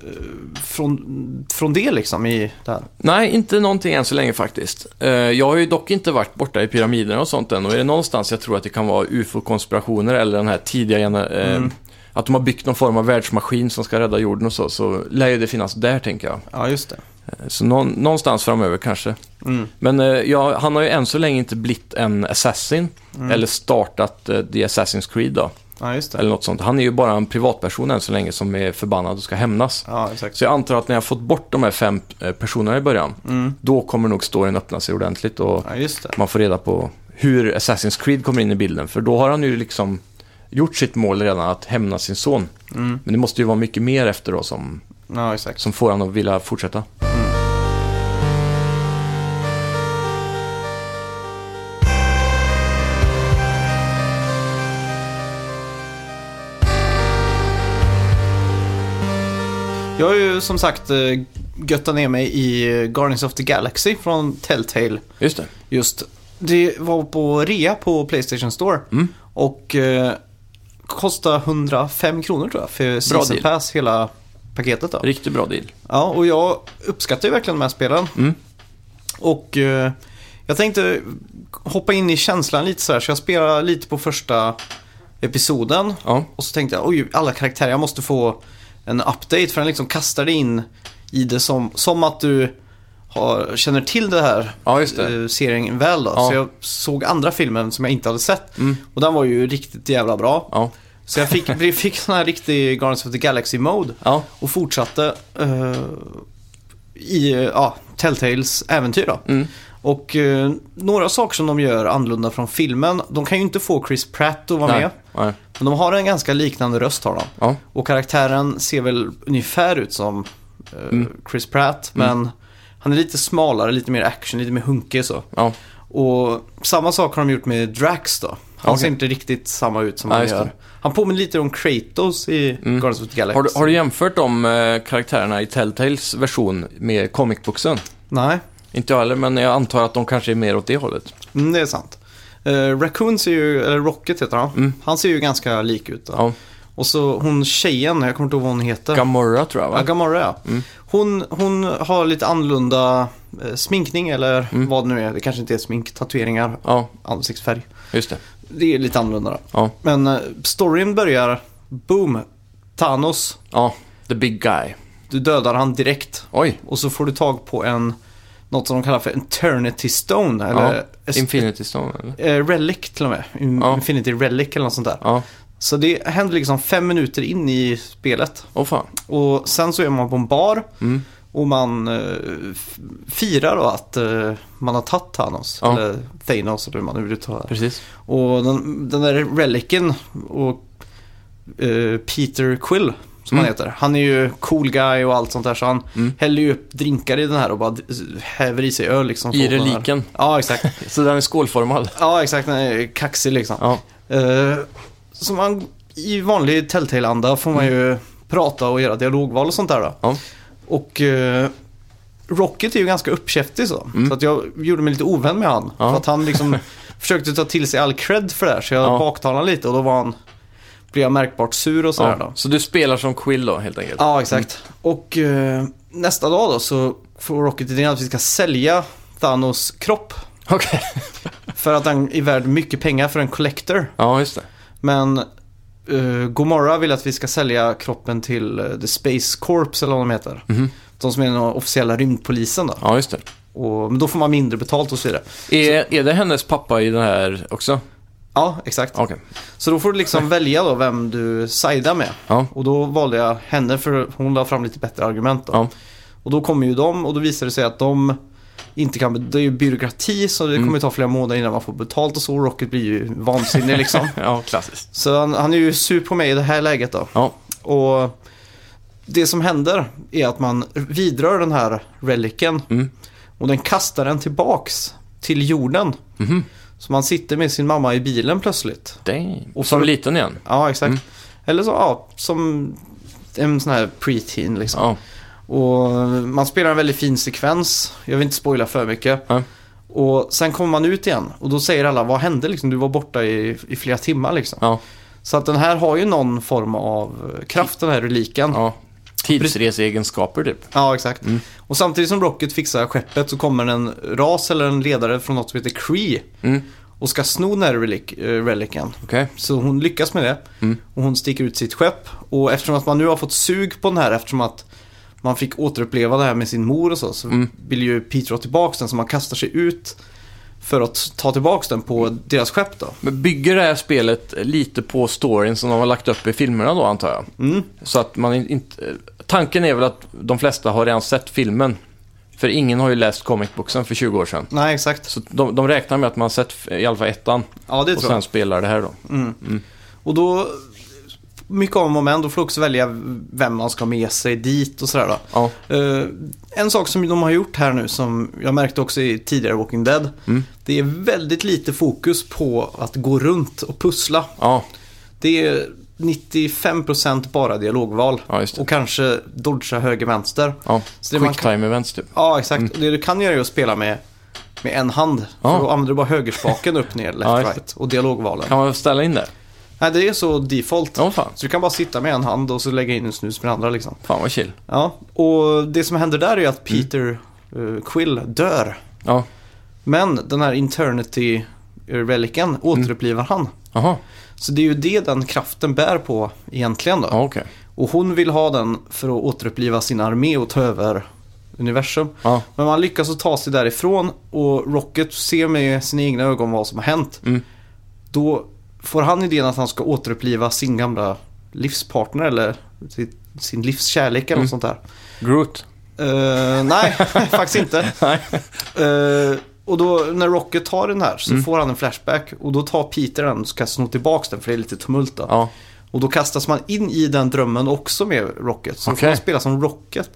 [SPEAKER 1] från, från det liksom i det här?
[SPEAKER 2] Nej, inte någonting än så länge faktiskt. Eh, Jag har ju dock inte varit borta i pyramiderna och sånt än. Och är det någonstans jag tror att det kan vara ufo-konspirationer eller den här tidiga gena- eh,
[SPEAKER 1] Mm.
[SPEAKER 2] Att de har byggt någon form av världsmaskin som ska rädda jorden och så, så lär ju det finnas där, tänker jag.
[SPEAKER 1] Ja, just det.
[SPEAKER 2] Eh, Så någon, någonstans framöver kanske.
[SPEAKER 1] Mm.
[SPEAKER 2] Men eh, ja, han har ju än så länge inte blivit en assassin,
[SPEAKER 1] Mm.
[SPEAKER 2] eller startat eh, The Assassin's Creed då,
[SPEAKER 1] Ja, just det.
[SPEAKER 2] eller något sånt. Han är ju bara en privatperson än så länge som är förbannad och ska hämnas.
[SPEAKER 1] Ja, exakt.
[SPEAKER 2] Så jag antar att när jag fått bort de här fem eh, personerna i början,
[SPEAKER 1] Mm.
[SPEAKER 2] då kommer nog storyn öppna sig ordentligt och
[SPEAKER 1] Ja, just det.
[SPEAKER 2] man får reda på hur Assassin's Creed kommer in i bilden. För då har han ju liksom gjort sitt mål redan, att hämna sin son.
[SPEAKER 1] Mm.
[SPEAKER 2] Men det måste ju vara mycket mer efter då som,
[SPEAKER 1] Ja, exakt.
[SPEAKER 2] som får han att vilja fortsätta.
[SPEAKER 1] Jag har ju som sagt eh, göttat ner mig i eh, Guardians of the Galaxy från Telltale.
[SPEAKER 2] Just det.
[SPEAKER 1] Just, det var på rea på Playstation Store.
[SPEAKER 2] Mm.
[SPEAKER 1] Och eh, kostade 105 kronor tror jag för Season
[SPEAKER 2] deal.
[SPEAKER 1] Pass, hela paketet då.
[SPEAKER 2] Riktigt bra deal.
[SPEAKER 1] Ja, och jag uppskattar ju verkligen de här spelen.
[SPEAKER 2] Mm.
[SPEAKER 1] Och eh, jag tänkte hoppa in i känslan lite så här, så jag spelar lite på första episoden.
[SPEAKER 2] Ja.
[SPEAKER 1] Och så tänkte jag, oj, alla karaktärer, jag måste få en update för den liksom kastar dig in i det som, som att du har, känner till det här
[SPEAKER 2] Ja, just det.
[SPEAKER 1] eh, serien väl då.
[SPEAKER 2] Ja. Mm.
[SPEAKER 1] Så jag såg andra filmen som jag inte hade sett och den var ju riktigt jävla bra.
[SPEAKER 2] Ja.
[SPEAKER 1] Så jag fick, vi fick sån här riktig Guardians of the Galaxy-mode
[SPEAKER 2] Ja.
[SPEAKER 1] och fortsatte eh, i eh, ja, Telltales äventyr då.
[SPEAKER 2] Mm.
[SPEAKER 1] Och eh, några saker som de gör annorlunda från filmen, de kan ju inte få Chris Pratt att vara
[SPEAKER 2] Nej.
[SPEAKER 1] med.
[SPEAKER 2] Nej.
[SPEAKER 1] Men de har en ganska liknande röst har de.
[SPEAKER 2] Ja.
[SPEAKER 1] Och karaktären ser väl ungefär ut som eh,
[SPEAKER 2] Mm.
[SPEAKER 1] Chris Pratt, men han är lite smalare, lite mer action, lite mer hunkig så.
[SPEAKER 2] Ja.
[SPEAKER 1] Och samma sak har de gjort med Drax då. Han
[SPEAKER 2] Okej.
[SPEAKER 1] ser inte riktigt samma ut som
[SPEAKER 2] Nej,
[SPEAKER 1] han
[SPEAKER 2] just det. Mm.
[SPEAKER 1] gör. Han påminner lite om Kratos i Guardians of the Galaxy.
[SPEAKER 2] Har du, har du jämfört de eh, karaktärerna i Telltales version med comic booksen?
[SPEAKER 1] Nej,
[SPEAKER 2] Inte jag heller, men jag antar att de kanske är mer åt det hållet.
[SPEAKER 1] mm, det är sant. Uh, Raccoon ser ju, eller Rocket heter han. Han ser ju ganska lik ut. Då.
[SPEAKER 2] Mm. Ja.
[SPEAKER 1] Och så hon tjejen, jag kommer inte ihåg vad hon heter.
[SPEAKER 2] Gamora tror jag,
[SPEAKER 1] Ja,
[SPEAKER 2] va?
[SPEAKER 1] Gamora ja.
[SPEAKER 2] Mm.
[SPEAKER 1] Hon, hon har lite annorlunda eh, sminkning eller
[SPEAKER 2] Mm.
[SPEAKER 1] vad det nu är. Det kanske inte är smink, tatueringar,
[SPEAKER 2] Ja,
[SPEAKER 1] ansiktsfärg.
[SPEAKER 2] just det.
[SPEAKER 1] Det är lite annorlunda då.
[SPEAKER 2] Ja.
[SPEAKER 1] Men eh, storyn börjar, boom, Thanos.
[SPEAKER 2] ja, the big guy.
[SPEAKER 1] Du dödar han direkt.
[SPEAKER 2] Oj,
[SPEAKER 1] Och så får du tag på en, något som de kallar för Eternity Stone. Eller
[SPEAKER 2] ja.
[SPEAKER 1] es-
[SPEAKER 2] Infinity Stone, eller?
[SPEAKER 1] eh, Relic till och med. In-
[SPEAKER 2] Ja.
[SPEAKER 1] Infinity Relic eller något sånt där.
[SPEAKER 2] Ja,
[SPEAKER 1] Så det händer liksom fem minuter in i spelet.
[SPEAKER 2] åh fan.
[SPEAKER 1] Och sen så är man på en bar.
[SPEAKER 2] Mm.
[SPEAKER 1] Och man eh, f- firar då att eh, man har tagit Thanos.
[SPEAKER 2] Ja.
[SPEAKER 1] Eller Thanos eller hur man nu vill ta det.
[SPEAKER 2] Precis.
[SPEAKER 1] Och den, den där relicen och eh, Peter Quill som han
[SPEAKER 2] Mm.
[SPEAKER 1] heter. Han är ju cool guy och allt sånt där. Så han häller ju upp drinkar i den här och bara d- häver i sig öl liksom.
[SPEAKER 2] I
[SPEAKER 1] Så den här-
[SPEAKER 2] reliken.
[SPEAKER 1] Ja, exakt.
[SPEAKER 2] Så den är skålformad.
[SPEAKER 1] Ja, exakt. Den är kaxig liksom.
[SPEAKER 2] Ja,
[SPEAKER 1] Eh, så man, i vanlig Telltale-anda får man
[SPEAKER 2] Mm.
[SPEAKER 1] ju prata och göra dialogval och sånt där då.
[SPEAKER 2] ja.
[SPEAKER 1] Och eh, Rocket är ju ganska uppkäftig så. Så att jag gjorde mig lite ovän med han.
[SPEAKER 2] Mm. Ja.
[SPEAKER 1] För att han liksom försökte ta till sig all cred för det här. Så jag
[SPEAKER 2] Ja.
[SPEAKER 1] baktalade honom lite och då var han, blev jag märkbart sur och sådär
[SPEAKER 2] ja. Mm.
[SPEAKER 1] då.
[SPEAKER 2] Så du spelar som Quill då, helt enkelt?
[SPEAKER 1] Ja, exakt. Och eh, nästa dag då så får Rocket idén att vi ska sälja Thanos kropp.
[SPEAKER 2] Okej.
[SPEAKER 1] För att han är värd mycket pengar för en collector.
[SPEAKER 2] Ja, just det.
[SPEAKER 1] Men eh, Gomorra vill att vi ska sälja kroppen till eh, The Space Corps eller vad de heter.
[SPEAKER 2] Mhm.
[SPEAKER 1] De som är den officiella rymdpolisen då.
[SPEAKER 2] Ja, just det.
[SPEAKER 1] Och, men då får man mindre betalt och så vidare.
[SPEAKER 2] Är, är det hennes pappa i den här också?
[SPEAKER 1] Ja, exakt.
[SPEAKER 2] Okej.
[SPEAKER 1] Så då får du liksom välja då vem du sidar med.
[SPEAKER 2] Ja.
[SPEAKER 1] Och då valde jag henne för hon la fram lite bättre argument. Då.
[SPEAKER 2] Ja.
[SPEAKER 1] Och då kommer ju de och då visar det sig att de inte kan, det är ju byråkrati så det
[SPEAKER 2] Mm.
[SPEAKER 1] kommer ju ta flera månader innan man får betalt och så. Rocket blir ju vansinnig liksom.
[SPEAKER 2] Ja, klassiskt.
[SPEAKER 1] Så han, han är ju sur på mig i det här läget då.
[SPEAKER 2] Ja.
[SPEAKER 1] Och det som händer är att man vidrör den här reliken
[SPEAKER 2] Mm.
[SPEAKER 1] och den kastar den tillbaks till jorden.
[SPEAKER 2] Mm-hmm.
[SPEAKER 1] Så man sitter med sin mamma i bilen plötsligt.
[SPEAKER 2] Damn.
[SPEAKER 1] Och
[SPEAKER 2] som
[SPEAKER 1] för-
[SPEAKER 2] liten igen?
[SPEAKER 1] Ja, exakt.
[SPEAKER 2] Mm.
[SPEAKER 1] Eller så, ja, som en sån här preteen liksom.
[SPEAKER 2] Ja.
[SPEAKER 1] Och man spelar en väldigt fin sekvens. Jag vill inte spoila för mycket.
[SPEAKER 2] Nej.
[SPEAKER 1] Och sen kommer man ut igen och då säger alla vad hände liksom? Du var borta i, i flera timmar liksom.
[SPEAKER 2] Ja.
[SPEAKER 1] Så att den här har ju någon form av kraft den här reliken.
[SPEAKER 2] ja. Tidsreseegenskaper typ.
[SPEAKER 1] Ja, exakt. Och samtidigt som Rocket fixar skeppet så kommer en ras eller en ledare från något som heter Cree
[SPEAKER 2] Mm.
[SPEAKER 1] och ska sno den här relik eh, reliken.
[SPEAKER 2] Okej.
[SPEAKER 1] Så hon lyckas med det
[SPEAKER 2] Mm.
[SPEAKER 1] och hon sticker ut sitt skepp. Och eftersom att man nu har fått sug på den här eftersom att man fick återuppleva det här med sin mor och så, så
[SPEAKER 2] Mm.
[SPEAKER 1] vill ju Peter ha tillbaka den så man kastar sig ut för att ta tillbaka den
[SPEAKER 2] Mm.
[SPEAKER 1] på deras skepp då.
[SPEAKER 2] Men bygger det här spelet lite på storyn som de har lagt upp i filmerna då, antar jag?
[SPEAKER 1] Mm.
[SPEAKER 2] Så att man in- inte... Tanken är väl att de flesta har redan sett filmen. För ingen har ju läst comicboxen för 20 år sedan.
[SPEAKER 1] Nej, exakt.
[SPEAKER 2] Så de, de räknar med att man har sett f- i alla fall ettan.
[SPEAKER 1] Ja, det
[SPEAKER 2] Och
[SPEAKER 1] tror jag. Mm.
[SPEAKER 2] sen spelar det här då.
[SPEAKER 1] Och då, mycket om och men, då får du också välja vem man ska ha med sig dit och sådär då.
[SPEAKER 2] Ja.
[SPEAKER 1] Eh, en sak som de har gjort här nu som jag märkte också i tidigare Walking Dead.
[SPEAKER 2] Mm.
[SPEAKER 1] Det är väldigt lite fokus på att gå runt och pussla.
[SPEAKER 2] Ja.
[SPEAKER 1] Det är 95% bara dialogval.
[SPEAKER 2] Ja, just det.
[SPEAKER 1] Och kanske dodga höger vänster.
[SPEAKER 2] ja.
[SPEAKER 1] Så det man
[SPEAKER 2] Quick
[SPEAKER 1] kan-
[SPEAKER 2] time events typ.
[SPEAKER 1] Ja, exakt. Och det du kan göra är att spela med, med en hand.
[SPEAKER 2] Ja.
[SPEAKER 1] För då använder du bara högerspaken upp, ner, left,
[SPEAKER 2] Ja, just det.
[SPEAKER 1] right och dialogvalen.
[SPEAKER 2] Kan man ställa in det?
[SPEAKER 1] Nej, det är så default.
[SPEAKER 2] Ja, fan.
[SPEAKER 1] Så du kan bara sitta med en hand och så lägga in en snus med den andra liksom.
[SPEAKER 2] Fan vad chill.
[SPEAKER 1] Ja, och det som händer där är att Peter eh, Quill dör.
[SPEAKER 2] Ja.
[SPEAKER 1] Men den här Eternity
[SPEAKER 2] Mm.
[SPEAKER 1] reliken återupplivar han.
[SPEAKER 2] Jaha.
[SPEAKER 1] Så det är ju det den kraften bär på egentligen då.
[SPEAKER 2] Ja, okej.
[SPEAKER 1] Och hon vill ha den för att återuppliva sin armé och ta över universum.
[SPEAKER 2] Ja.
[SPEAKER 1] Men man lyckas att ta sig därifrån och Rocket ser med sina egna ögon vad som har hänt.
[SPEAKER 2] Mm.
[SPEAKER 1] Då får han idén att han ska återuppliva sin gamla livspartner eller sitt- sin livskärlek
[SPEAKER 2] Mm.
[SPEAKER 1] eller något sånt där.
[SPEAKER 2] Groot.
[SPEAKER 1] Eh, nej, faktiskt inte.
[SPEAKER 2] Nej.
[SPEAKER 1] Eh, och då när Rocket tar den här så
[SPEAKER 2] Mm.
[SPEAKER 1] får han en flashback och då tar Peter den och ska sno tillbaka den för det är lite tumult då.
[SPEAKER 2] Ja.
[SPEAKER 1] Och då kastas man in i den drömmen också med Rocket. Så får
[SPEAKER 2] Okej.
[SPEAKER 1] man spela som Rocket.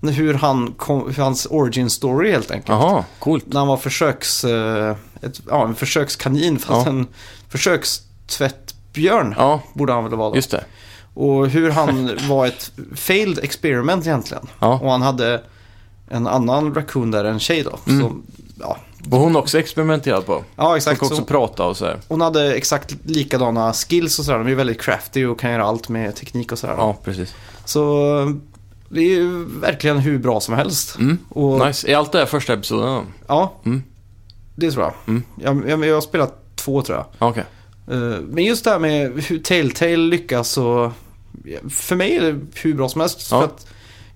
[SPEAKER 1] Hur, han kom, hur hans origin story helt enkelt.
[SPEAKER 2] Jaha. Coolt.
[SPEAKER 1] När han var försöks, eh, ett, ja, en försökskanin fast
[SPEAKER 2] Ja.
[SPEAKER 1] en försökstvättbjörn.
[SPEAKER 2] Ja,
[SPEAKER 1] Borde han väl vara då.
[SPEAKER 2] just det.
[SPEAKER 1] Och hur han var ett failed experiment egentligen.
[SPEAKER 2] Ja.
[SPEAKER 1] Och han hade en annan raccoon där, en tjej då.
[SPEAKER 2] Mm.
[SPEAKER 1] Som, ja.
[SPEAKER 2] Och hon också experimenterat på.
[SPEAKER 1] ja,
[SPEAKER 2] Hon
[SPEAKER 1] exakt.
[SPEAKER 2] kan också
[SPEAKER 1] Så
[SPEAKER 2] prata och så här.
[SPEAKER 1] hon hade exakt likadana skills och sådär. De är ju väldigt crafty och kan göra allt med teknik och sådär.
[SPEAKER 2] Ja, precis.
[SPEAKER 1] Så det är ju verkligen hur bra som helst.
[SPEAKER 2] Mm.
[SPEAKER 1] Och,
[SPEAKER 2] Nice. Är allt det här första episoden? då?
[SPEAKER 1] Ja,
[SPEAKER 2] Mm.
[SPEAKER 1] det tror jag.
[SPEAKER 2] Mm.
[SPEAKER 1] Jag, jag. jag har spelat två tror jag.
[SPEAKER 2] Ja, Okej.
[SPEAKER 1] Eh, Men just det här med hur Telltale lyckas och... För mig är det hur bra som helst.
[SPEAKER 2] Ja.
[SPEAKER 1] För att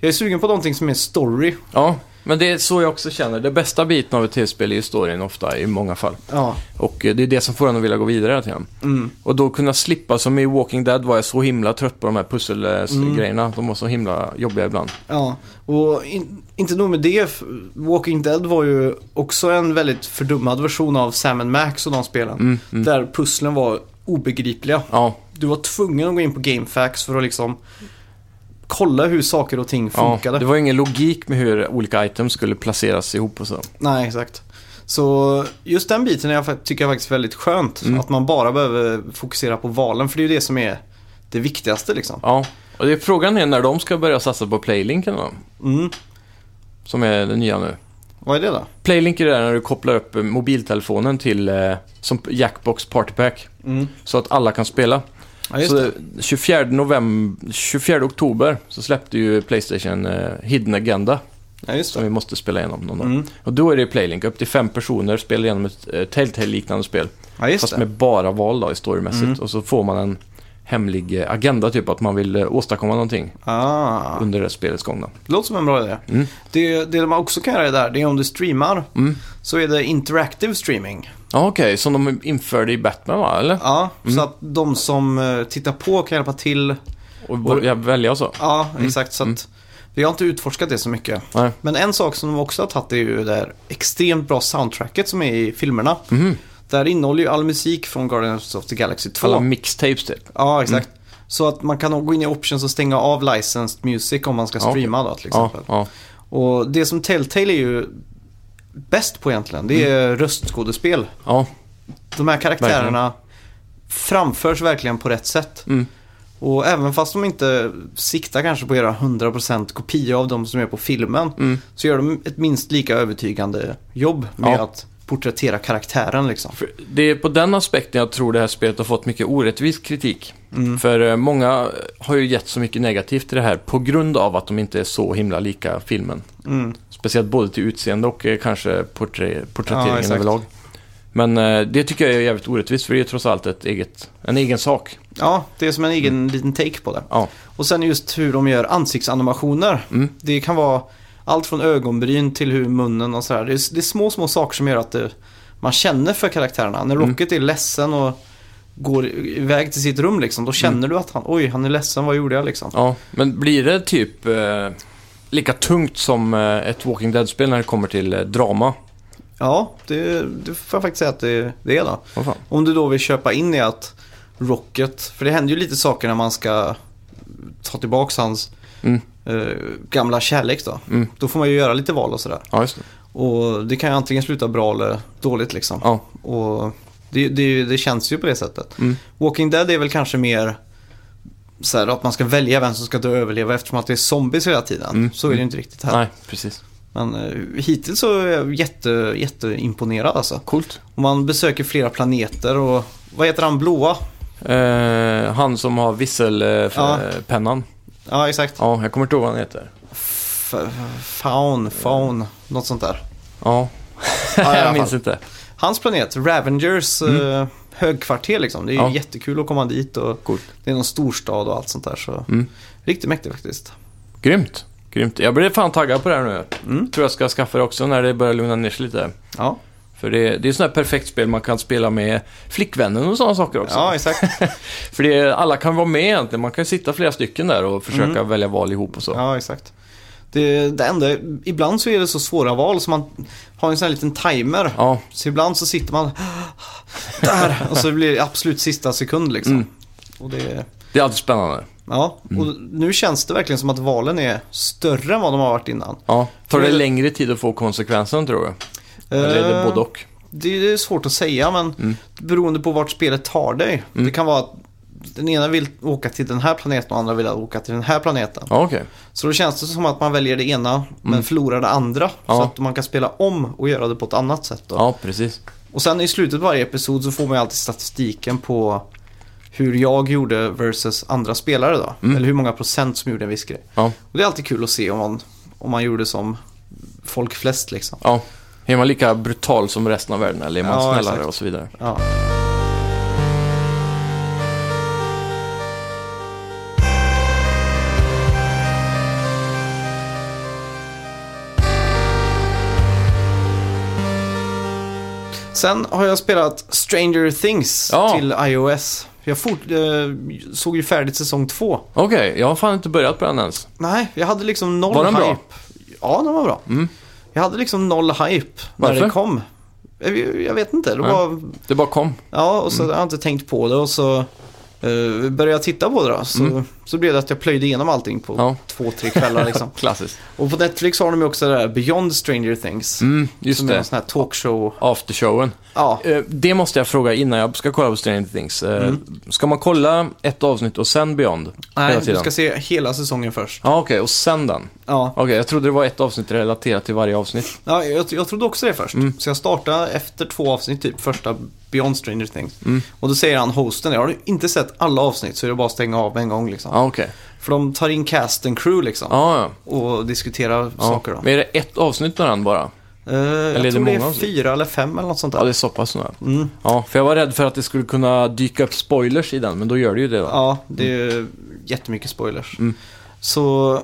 [SPEAKER 1] jag är sugen på någonting som är story.
[SPEAKER 2] Ja, men det är så jag också känner. Det bästa biten av ett tv-spel är ju storyn ofta, i många fall.
[SPEAKER 1] Ja,
[SPEAKER 2] Och eh, det är det som får en att vilja gå vidare hela tiden.
[SPEAKER 1] mm.
[SPEAKER 2] Och då kunna slippa, som i Walking Dead var jag så himla trött på de här pusselgrejerna.
[SPEAKER 1] Mm.
[SPEAKER 2] De var så himla jobbiga ibland.
[SPEAKER 1] ja. och in, inte nog med det. f- Walking Dead var ju också en väldigt fördummad version av Sam Max och de spelen.
[SPEAKER 2] Mm, mm.
[SPEAKER 1] Där pusslen var obegripliga.
[SPEAKER 2] Ja,
[SPEAKER 1] Du var tvungen att gå in på GameFAQs för att liksom kolla hur saker och ting
[SPEAKER 2] ja,
[SPEAKER 1] funkade.
[SPEAKER 2] det var ingen logik med hur olika items skulle placeras ihop och så.
[SPEAKER 1] Nej, exakt. Så just den biten är jag, fa- tycker jag faktiskt är väldigt skönt.
[SPEAKER 2] Mm.
[SPEAKER 1] Att man bara behöver fokusera på valen, för det är ju det som är det viktigaste liksom.
[SPEAKER 2] Ja, och det är frågan är när de ska börja satsa på Playlink eller vad?
[SPEAKER 1] Mm.
[SPEAKER 2] Som är det nya nu.
[SPEAKER 1] Vad är det då?
[SPEAKER 2] Playlink är det där när du kopplar upp eh, mobiltelefonen till, eh, som Jackbox Party Pack.
[SPEAKER 1] Mm.
[SPEAKER 2] Så att alla kan spela.
[SPEAKER 1] Ja, just
[SPEAKER 2] så
[SPEAKER 1] det.
[SPEAKER 2] 24, november, 24 oktober så släppte ju Playstation eh, Hidden Agenda.
[SPEAKER 1] Ja, just
[SPEAKER 2] Som
[SPEAKER 1] det.
[SPEAKER 2] vi måste spela igenom någon dag.
[SPEAKER 1] Mm.
[SPEAKER 2] Och då är det Playlink, upp till fem personer spelar igenom ett eh, Telltale-liknande spel.
[SPEAKER 1] Ja, just
[SPEAKER 2] Fast
[SPEAKER 1] det.
[SPEAKER 2] med bara val då, i storymässigt.
[SPEAKER 1] Mm.
[SPEAKER 2] Och så får man en hemlig eh, agenda, typ att man vill eh, åstadkomma någonting
[SPEAKER 1] Ah,
[SPEAKER 2] under det spelets gång. Då.
[SPEAKER 1] det låter som en bra idé.
[SPEAKER 2] Mm.
[SPEAKER 1] Det, det de också kan göra där, det är om du streamar
[SPEAKER 2] Mm.
[SPEAKER 1] så är det interactive streaming.
[SPEAKER 2] Ja, okej, som de införde i Batman va, eller?
[SPEAKER 1] Ja,
[SPEAKER 2] Mm.
[SPEAKER 1] så att de som eh, tittar på kan hjälpa till.
[SPEAKER 2] Och börja välja och så.
[SPEAKER 1] Ja,
[SPEAKER 2] Mm.
[SPEAKER 1] exakt. Så att vi har inte utforskat det så mycket.
[SPEAKER 2] Nej.
[SPEAKER 1] Men en sak som de också har tagit är ju det här extremt bra soundtracket som är i filmerna.
[SPEAKER 2] Mhm.
[SPEAKER 1] Där innehåller ju all musik från Guardians of the Galaxy 2.
[SPEAKER 2] Alla mixtapes typ.
[SPEAKER 1] Ja, exakt. Så att man kan gå in i options och stänga av licensed music om man ska
[SPEAKER 2] Ja, okej.
[SPEAKER 1] streama då till
[SPEAKER 2] Ja,
[SPEAKER 1] exempel.
[SPEAKER 2] ja.
[SPEAKER 1] Och det som Telltale är ju bäst på egentligen, det är
[SPEAKER 2] Mm.
[SPEAKER 1] röstskådespel.
[SPEAKER 2] ja.
[SPEAKER 1] De här karaktärerna framförs verkligen på rätt sätt.
[SPEAKER 2] Mm.
[SPEAKER 1] Och även fast de inte siktar kanske på att göra 100% kopia av de som är på filmen
[SPEAKER 2] Mm.
[SPEAKER 1] så gör de ett minst lika övertygande jobb med
[SPEAKER 2] Ja.
[SPEAKER 1] att porträttera karaktären liksom.
[SPEAKER 2] För det är på den aspekten jag tror det här spelet har fått mycket orättvis kritik. För eh, många har ju gett så mycket negativt till det här på grund av att de inte är så himla lika filmen.
[SPEAKER 1] Mm.
[SPEAKER 2] Speciellt både till utseende och eh, kanske porträ-
[SPEAKER 1] Ja,
[SPEAKER 2] porträtteringen
[SPEAKER 1] exakt.
[SPEAKER 2] överlag. Men eh, det tycker jag är jävligt orättvist för det är trots allt ett eget, en egen sak.
[SPEAKER 1] Ja, det är som en egen
[SPEAKER 2] Mm.
[SPEAKER 1] liten take på det.
[SPEAKER 2] Ja.
[SPEAKER 1] Och sen just hur de gör ansiktsanimationer.
[SPEAKER 2] Mm.
[SPEAKER 1] Det kan vara allt från ögonbryn till hur munnen och sådär. Det är, det är små, små saker som gör att det, man känner för karaktärerna. När
[SPEAKER 2] Mm.
[SPEAKER 1] Rocket är ledsen och går iväg till sitt rum liksom, då känner
[SPEAKER 2] Mm.
[SPEAKER 1] du att han, oj, han är ledsen, vad gjorde jag liksom?
[SPEAKER 2] ja. Men blir det typ eh, lika tungt som eh, ett Walking Dead-spel när det kommer till eh, drama?
[SPEAKER 1] Ja, det, det får jag faktiskt säga att det, det är då.
[SPEAKER 2] Vad fan?
[SPEAKER 1] Om du då vill köpa in i att Rocket, för det händer ju lite saker när man ska ta tillbaks hans
[SPEAKER 2] Mm.
[SPEAKER 1] eh, gamla kärlek då.
[SPEAKER 2] Mm.
[SPEAKER 1] Då får man ju göra lite val och sådär.
[SPEAKER 2] Ja, just det.
[SPEAKER 1] Och det kan ju antingen sluta bra eller dåligt liksom.
[SPEAKER 2] Ja.
[SPEAKER 1] Och det, det, det känns ju på det sättet.
[SPEAKER 2] Mm.
[SPEAKER 1] Walking Dead är väl kanske mer så här, att man ska välja vem som ska dö och överleva eftersom att det är zombies hela tiden.
[SPEAKER 2] Mm.
[SPEAKER 1] Så är det ju inte riktigt här.
[SPEAKER 2] Nej, precis.
[SPEAKER 1] Men eh, hittills så är jag jätte, jätteimponerad alltså.
[SPEAKER 2] Coolt.
[SPEAKER 1] Och man besöker flera planeter och vad heter han blåa?
[SPEAKER 2] Eh, han som har
[SPEAKER 1] Ja.
[SPEAKER 2] visselpennan.
[SPEAKER 1] Ja exakt.
[SPEAKER 2] Ja, jag kommer inte ihåg vad han heter.
[SPEAKER 1] F- faun, faun, något sånt där.
[SPEAKER 2] Ja,
[SPEAKER 1] Ja, i alla
[SPEAKER 2] jag minns
[SPEAKER 1] fall.
[SPEAKER 2] inte.
[SPEAKER 1] Hans planet, Ravengers eh, högkvarter liksom. Det är ju
[SPEAKER 2] Mm. Ja.
[SPEAKER 1] jättekul att komma dit och
[SPEAKER 2] Coolt.
[SPEAKER 1] det är någon storstad och allt sånt där. Så
[SPEAKER 2] Mm.
[SPEAKER 1] riktigt mäktigt faktiskt.
[SPEAKER 2] Grymt. Grymt. Jag blir fan taggad på det här nu.
[SPEAKER 1] Mm.
[SPEAKER 2] Tror jag ska skaffa det också när det börjar lugna ner sig lite.
[SPEAKER 1] Ja,
[SPEAKER 2] För det, det är sådana här perfekt spel man kan spela med flickvännen och sådana saker också.
[SPEAKER 1] ja exakt.
[SPEAKER 2] För det, alla kan vara med egentligen. Man kan sitta flera stycken där och försöka välja val ihop och så.
[SPEAKER 1] Mm. Ja, exakt. Det, det enda, ibland så är det så svåra val så man har en sån här liten timer.
[SPEAKER 2] Ja,
[SPEAKER 1] Så ibland så sitter man där och så blir det absolut sista sekund liksom.
[SPEAKER 2] Mm.
[SPEAKER 1] Och det,
[SPEAKER 2] det är alltid spännande.
[SPEAKER 1] ja, och nu känns det verkligen som att valen är större än vad de har varit innan.
[SPEAKER 2] Ja. Tar
[SPEAKER 1] Tror
[SPEAKER 2] det
[SPEAKER 1] du-
[SPEAKER 2] längre tid att få konsekvensen tror jag? Eller är det
[SPEAKER 1] Eh,
[SPEAKER 2] både och?
[SPEAKER 1] det är svårt att säga, men
[SPEAKER 2] Mm.
[SPEAKER 1] beroende på vart spelet tar dig. Det kan vara att den ena vill åka till den här planeten och andra vill åka till den här planeten.
[SPEAKER 2] Ja, okej.
[SPEAKER 1] Så då känns det som att man väljer det ena men förlorar det andra. Så
[SPEAKER 2] Mm. Ja.
[SPEAKER 1] att man kan spela om och göra det på ett annat sätt. Då.
[SPEAKER 2] Ja, precis.
[SPEAKER 1] Och sen i slutet av varje episod så får man ju alltid statistiken på hur jag gjorde versus andra spelare då.
[SPEAKER 2] Mm.
[SPEAKER 1] Eller hur många procent som gjorde en viss grej.
[SPEAKER 2] Ja,
[SPEAKER 1] Och det är alltid kul att se om man, om man gjorde som folk flest liksom.
[SPEAKER 2] ja. Är man lika brutal som resten av världen eller är man
[SPEAKER 1] Ja,
[SPEAKER 2] snällare
[SPEAKER 1] exakt.
[SPEAKER 2] och så vidare?
[SPEAKER 1] Ja. Sen har jag spelat Stranger Things
[SPEAKER 2] Ja.
[SPEAKER 1] till iOS. Jag fort, eh, såg ju färdigt säsong två.
[SPEAKER 2] Okej, jag har fan inte börjat på den ens.
[SPEAKER 1] Nej, jag hade liksom noll
[SPEAKER 2] Var den bra? Mm.
[SPEAKER 1] hype. Ja, den var bra. Jag hade liksom noll hype när
[SPEAKER 2] Varför?
[SPEAKER 1] det kom. Eh, Jag, jag vet inte. Det
[SPEAKER 2] Nej.
[SPEAKER 1] var
[SPEAKER 2] Det bara kom.
[SPEAKER 1] Ja, och så
[SPEAKER 2] Mm.
[SPEAKER 1] har jag inte tänkt på det och så eh, började jag titta på det då. Så, så blev det att jag plöjde igenom allting på
[SPEAKER 2] Mm. Ja.
[SPEAKER 1] två, tre kvällar liksom.
[SPEAKER 2] Klassiskt.
[SPEAKER 1] och på Netflix har de ju också det där Beyond Stranger Things.
[SPEAKER 2] Mm, just
[SPEAKER 1] som är
[SPEAKER 2] det.
[SPEAKER 1] en sån här talkshow.
[SPEAKER 2] Aftershowen.
[SPEAKER 1] Ja,
[SPEAKER 2] Eh, Det måste jag fråga innan jag ska kolla på Stranger Things. Eh, Ska man kolla ett avsnitt och sen Beyond?
[SPEAKER 1] Mm. nej,
[SPEAKER 2] hela
[SPEAKER 1] du
[SPEAKER 2] tiden?
[SPEAKER 1] ska se hela säsongen först.
[SPEAKER 2] Ja, okej. Och sen den?
[SPEAKER 1] Ja,
[SPEAKER 2] Okej, jag trodde det var ett avsnitt relaterat till varje avsnitt.
[SPEAKER 1] ja jag, jag trodde också det först.
[SPEAKER 2] Mm.
[SPEAKER 1] Så jag startade efter två avsnitt, typ första Beyond Stranger Things.
[SPEAKER 2] Mm.
[SPEAKER 1] Och då säger han, hosten, jag har du inte sett alla avsnitt så är det bara att stänga av med en gång liksom.
[SPEAKER 2] Ja, okej.
[SPEAKER 1] För de tar in cast and crew liksom.
[SPEAKER 2] Ja, ja.
[SPEAKER 1] Och diskuterar
[SPEAKER 2] ja.
[SPEAKER 1] saker då.
[SPEAKER 2] Men är det ett avsnitt av den bara?
[SPEAKER 1] Eh, jag
[SPEAKER 2] är det
[SPEAKER 1] tror det
[SPEAKER 2] många
[SPEAKER 1] är
[SPEAKER 2] avsnitt?
[SPEAKER 1] fyra eller fem eller något sånt där.
[SPEAKER 2] Ja, det är så pass nu.
[SPEAKER 1] Mm.
[SPEAKER 2] Ja, för jag var rädd för att det skulle kunna dyka upp spoilers i den, men då gör det ju det. Då.
[SPEAKER 1] Ja, det är
[SPEAKER 2] Mm.
[SPEAKER 1] ju jättemycket spoilers. Så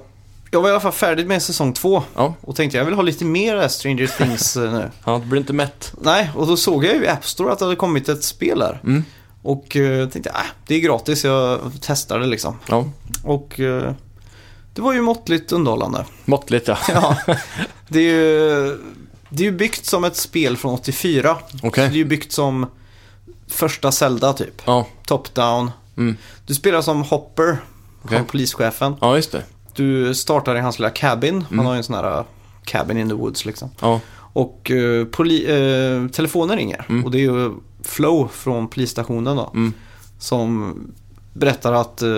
[SPEAKER 1] jag var i alla fall färdig med säsong två.
[SPEAKER 2] Ja.
[SPEAKER 1] Och tänkte jag vill ha lite mer av Stranger Things eh, nu.
[SPEAKER 2] Ja, det blir inte mätt.
[SPEAKER 1] Nej, och då såg jag ju i App Store att det hade kommit ett spel där.
[SPEAKER 2] Mm.
[SPEAKER 1] Och eh, tänkte, äh, det är gratis, jag testar det liksom.
[SPEAKER 2] Ja,
[SPEAKER 1] Och eh, det var ju måttligt underhållande.
[SPEAKER 2] måttligt ja.
[SPEAKER 1] Ja, det är ju, det är ju byggt som ett spel från 84.
[SPEAKER 2] Okej.
[SPEAKER 1] Så det är ju byggt som första Zelda typ.
[SPEAKER 2] Ja,
[SPEAKER 1] Top-down.
[SPEAKER 2] mm.
[SPEAKER 1] Du spelar som Hopper,
[SPEAKER 2] Okej.
[SPEAKER 1] han polischefen.
[SPEAKER 2] ja just det.
[SPEAKER 1] Du startar i hans lilla cabin.
[SPEAKER 2] Mm.
[SPEAKER 1] Han har ju en sån här uh, cabin in the woods liksom.
[SPEAKER 2] Ja,
[SPEAKER 1] Och eh, poli- eh, telefonen ringer.
[SPEAKER 2] Mm.
[SPEAKER 1] Och det är ju Flow från polisstationen då. Som berättar att eh,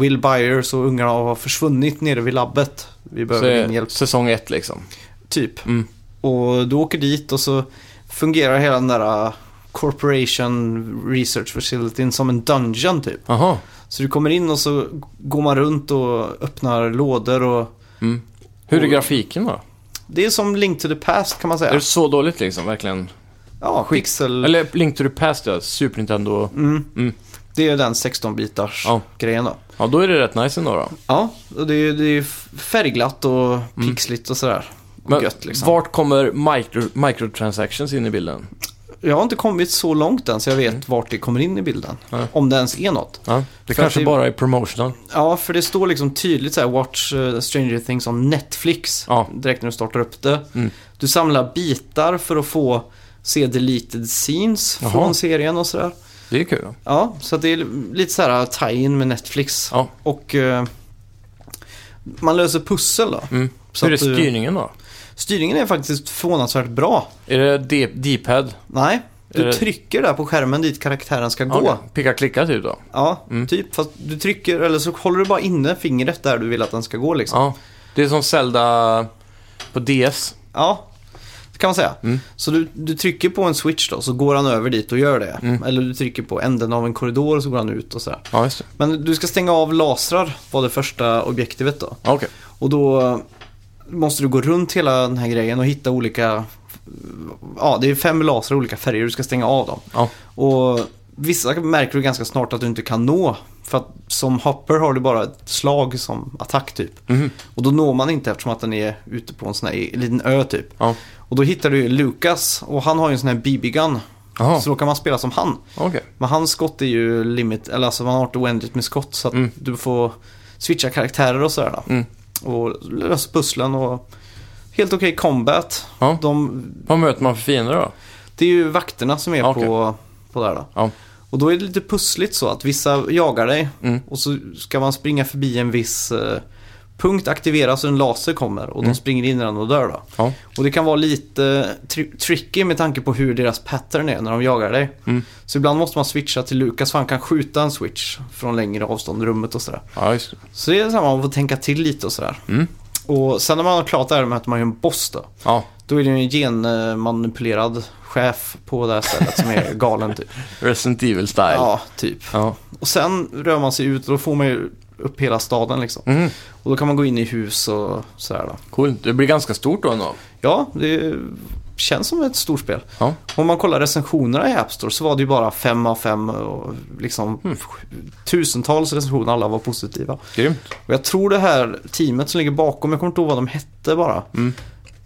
[SPEAKER 1] Will Byers och ungarna har försvunnit nere vid labbet. Vi
[SPEAKER 2] så
[SPEAKER 1] behöver din
[SPEAKER 2] är
[SPEAKER 1] hjälp,
[SPEAKER 2] säsong ett liksom.
[SPEAKER 1] typ.
[SPEAKER 2] Mm.
[SPEAKER 1] Och du åker dit och så fungerar hela den där uh, Corporation Research Facility som en dungeon typ.
[SPEAKER 2] Jaha,
[SPEAKER 1] Så du kommer in och så går man runt och öppnar lådor och
[SPEAKER 2] hur är grafiken då?
[SPEAKER 1] det är som Link to the Past kan man
[SPEAKER 2] Är
[SPEAKER 1] säga.
[SPEAKER 2] det så dåligt liksom, verkligen?
[SPEAKER 1] Ja, pixel.
[SPEAKER 2] Eller Link to the Past ja, Super Nintendo.
[SPEAKER 1] Mm. Det är den 16-bitars
[SPEAKER 2] Ja.
[SPEAKER 1] grejen då.
[SPEAKER 2] Ja, då är det rätt nice ändå då.
[SPEAKER 1] Ja, och det är, det är färgglatt och pixligt och sådär. Och
[SPEAKER 2] Mm. Men
[SPEAKER 1] gött liksom.
[SPEAKER 2] vart kommer micro, microtransactions in i bilden?
[SPEAKER 1] Jag har inte kommit så långt än så jag vet vart det kommer in i bilden.
[SPEAKER 2] Mm. Ja.
[SPEAKER 1] Om det ens är något.
[SPEAKER 2] Ja, det
[SPEAKER 1] För att
[SPEAKER 2] kanske
[SPEAKER 1] det-
[SPEAKER 2] bara är promotional.
[SPEAKER 1] Ja, för det står liksom tydligt så här Watch eh, Stranger Things on Netflix.
[SPEAKER 2] Ja.
[SPEAKER 1] Direkt när du startar upp det.
[SPEAKER 2] Mm.
[SPEAKER 1] Du samlar bitar för att få se deleted scenes
[SPEAKER 2] Jaha.
[SPEAKER 1] från serien och sådär.
[SPEAKER 2] Det är kul. då.
[SPEAKER 1] Ja, så att det är lite så här äh, tie-in med Netflix.
[SPEAKER 2] Ja.
[SPEAKER 1] Och eh, man löser pussel då.
[SPEAKER 2] Mm.
[SPEAKER 1] Så
[SPEAKER 2] hur är
[SPEAKER 1] att eh, du-
[SPEAKER 2] styrningen då?
[SPEAKER 1] Styrningen är faktiskt förvånansvärt bra.
[SPEAKER 2] Är det D- D-pad?
[SPEAKER 1] Nej, du
[SPEAKER 2] Är det-
[SPEAKER 1] trycker där på skärmen dit karaktären ska gå.
[SPEAKER 2] Eh. Okej, Picka klicka typ då?
[SPEAKER 1] Ja, typ. Fast du trycker, eller så håller du bara inne fingret där du vill att den ska gå liksom.
[SPEAKER 2] Ja. Det är som Zelda på DS.
[SPEAKER 1] Ja, det kan man säga.
[SPEAKER 2] Mm.
[SPEAKER 1] Så du, du trycker på en switch då, så går han över dit och gör det.
[SPEAKER 2] Mm.
[SPEAKER 1] Eller du trycker på änden av en korridor och så går han ut och sådär.
[SPEAKER 2] Ja, just det.
[SPEAKER 1] Men du ska stänga av lasrar, var det första objektivet då.
[SPEAKER 2] Ja, Okej.
[SPEAKER 1] Och då måste du gå runt hela den här grejen och hitta olika... Ja, det är fem lasrar i olika färger, du ska stänga av dem.
[SPEAKER 2] Ja.
[SPEAKER 1] Och vissa märker du ganska snart att du inte kan nå. För att som hopper har du bara ett slag som attack typ.
[SPEAKER 2] Mhm.
[SPEAKER 1] Och då når man inte eftersom att den är ute på en sån här liten ö typ.
[SPEAKER 2] Ja.
[SPEAKER 1] Och då hittar du Lucas och han har ju en sån här BB-gun.
[SPEAKER 2] Jaha.
[SPEAKER 1] Så då kan man spela som han.
[SPEAKER 2] Okej.
[SPEAKER 1] Men hans skott är ju limit, eller alltså man har inte oändligt med skott så att du får switcha karaktärer och sådär. då.
[SPEAKER 2] Mm.
[SPEAKER 1] Och lösa pusslen och helt okej combat.
[SPEAKER 2] Ja.
[SPEAKER 1] De,
[SPEAKER 2] Vad möter man för fiender då?
[SPEAKER 1] det är ju vakterna som är
[SPEAKER 2] Ja, okej.
[SPEAKER 1] på, på där då.
[SPEAKER 2] Ja.
[SPEAKER 1] Och då är det
[SPEAKER 2] Mm.
[SPEAKER 1] lite pussligt så att vissa jagar dig och så ska man springa förbi en viss eh, punkt aktiveras och en laser kommer
[SPEAKER 2] Mm.
[SPEAKER 1] och de springer in i den och dör då.
[SPEAKER 2] Ja.
[SPEAKER 1] Och det kan vara lite tri- tricky med tanke på hur deras pattern är när de jagar dig. Så ibland måste man switcha till Lukas för han kan skjuta en switch från längre avstånd i rummet och sådär.
[SPEAKER 2] Ja, just det.
[SPEAKER 1] Så det är samma, man får tänka till lite och sådär. Och sen när man har klart det här med att man är en boss då.
[SPEAKER 2] Ja,
[SPEAKER 1] Då är det ju en genmanipulerad chef på det här stället som är galen typ.
[SPEAKER 2] Resident Evil-style. Ja.
[SPEAKER 1] Ja, typ. Och sen rör man sig ut och då får man ju upp hela staden liksom.
[SPEAKER 2] Mm.
[SPEAKER 1] Och då kan man gå in i hus och sådär då.
[SPEAKER 2] Cool. Det blir ganska stort då ändå.
[SPEAKER 1] Ja, det känns som ett stort spel.
[SPEAKER 2] Ja.
[SPEAKER 1] Om man kollar recensionerna i App Store så var det ju bara fem av fem och liksom
[SPEAKER 2] Hmm.
[SPEAKER 1] tusentals recensioner, alla var positiva.
[SPEAKER 2] Grymt.
[SPEAKER 1] Och jag tror det här teamet som ligger bakom, jag kommer inte ihåg vad de hette bara.
[SPEAKER 2] Mm.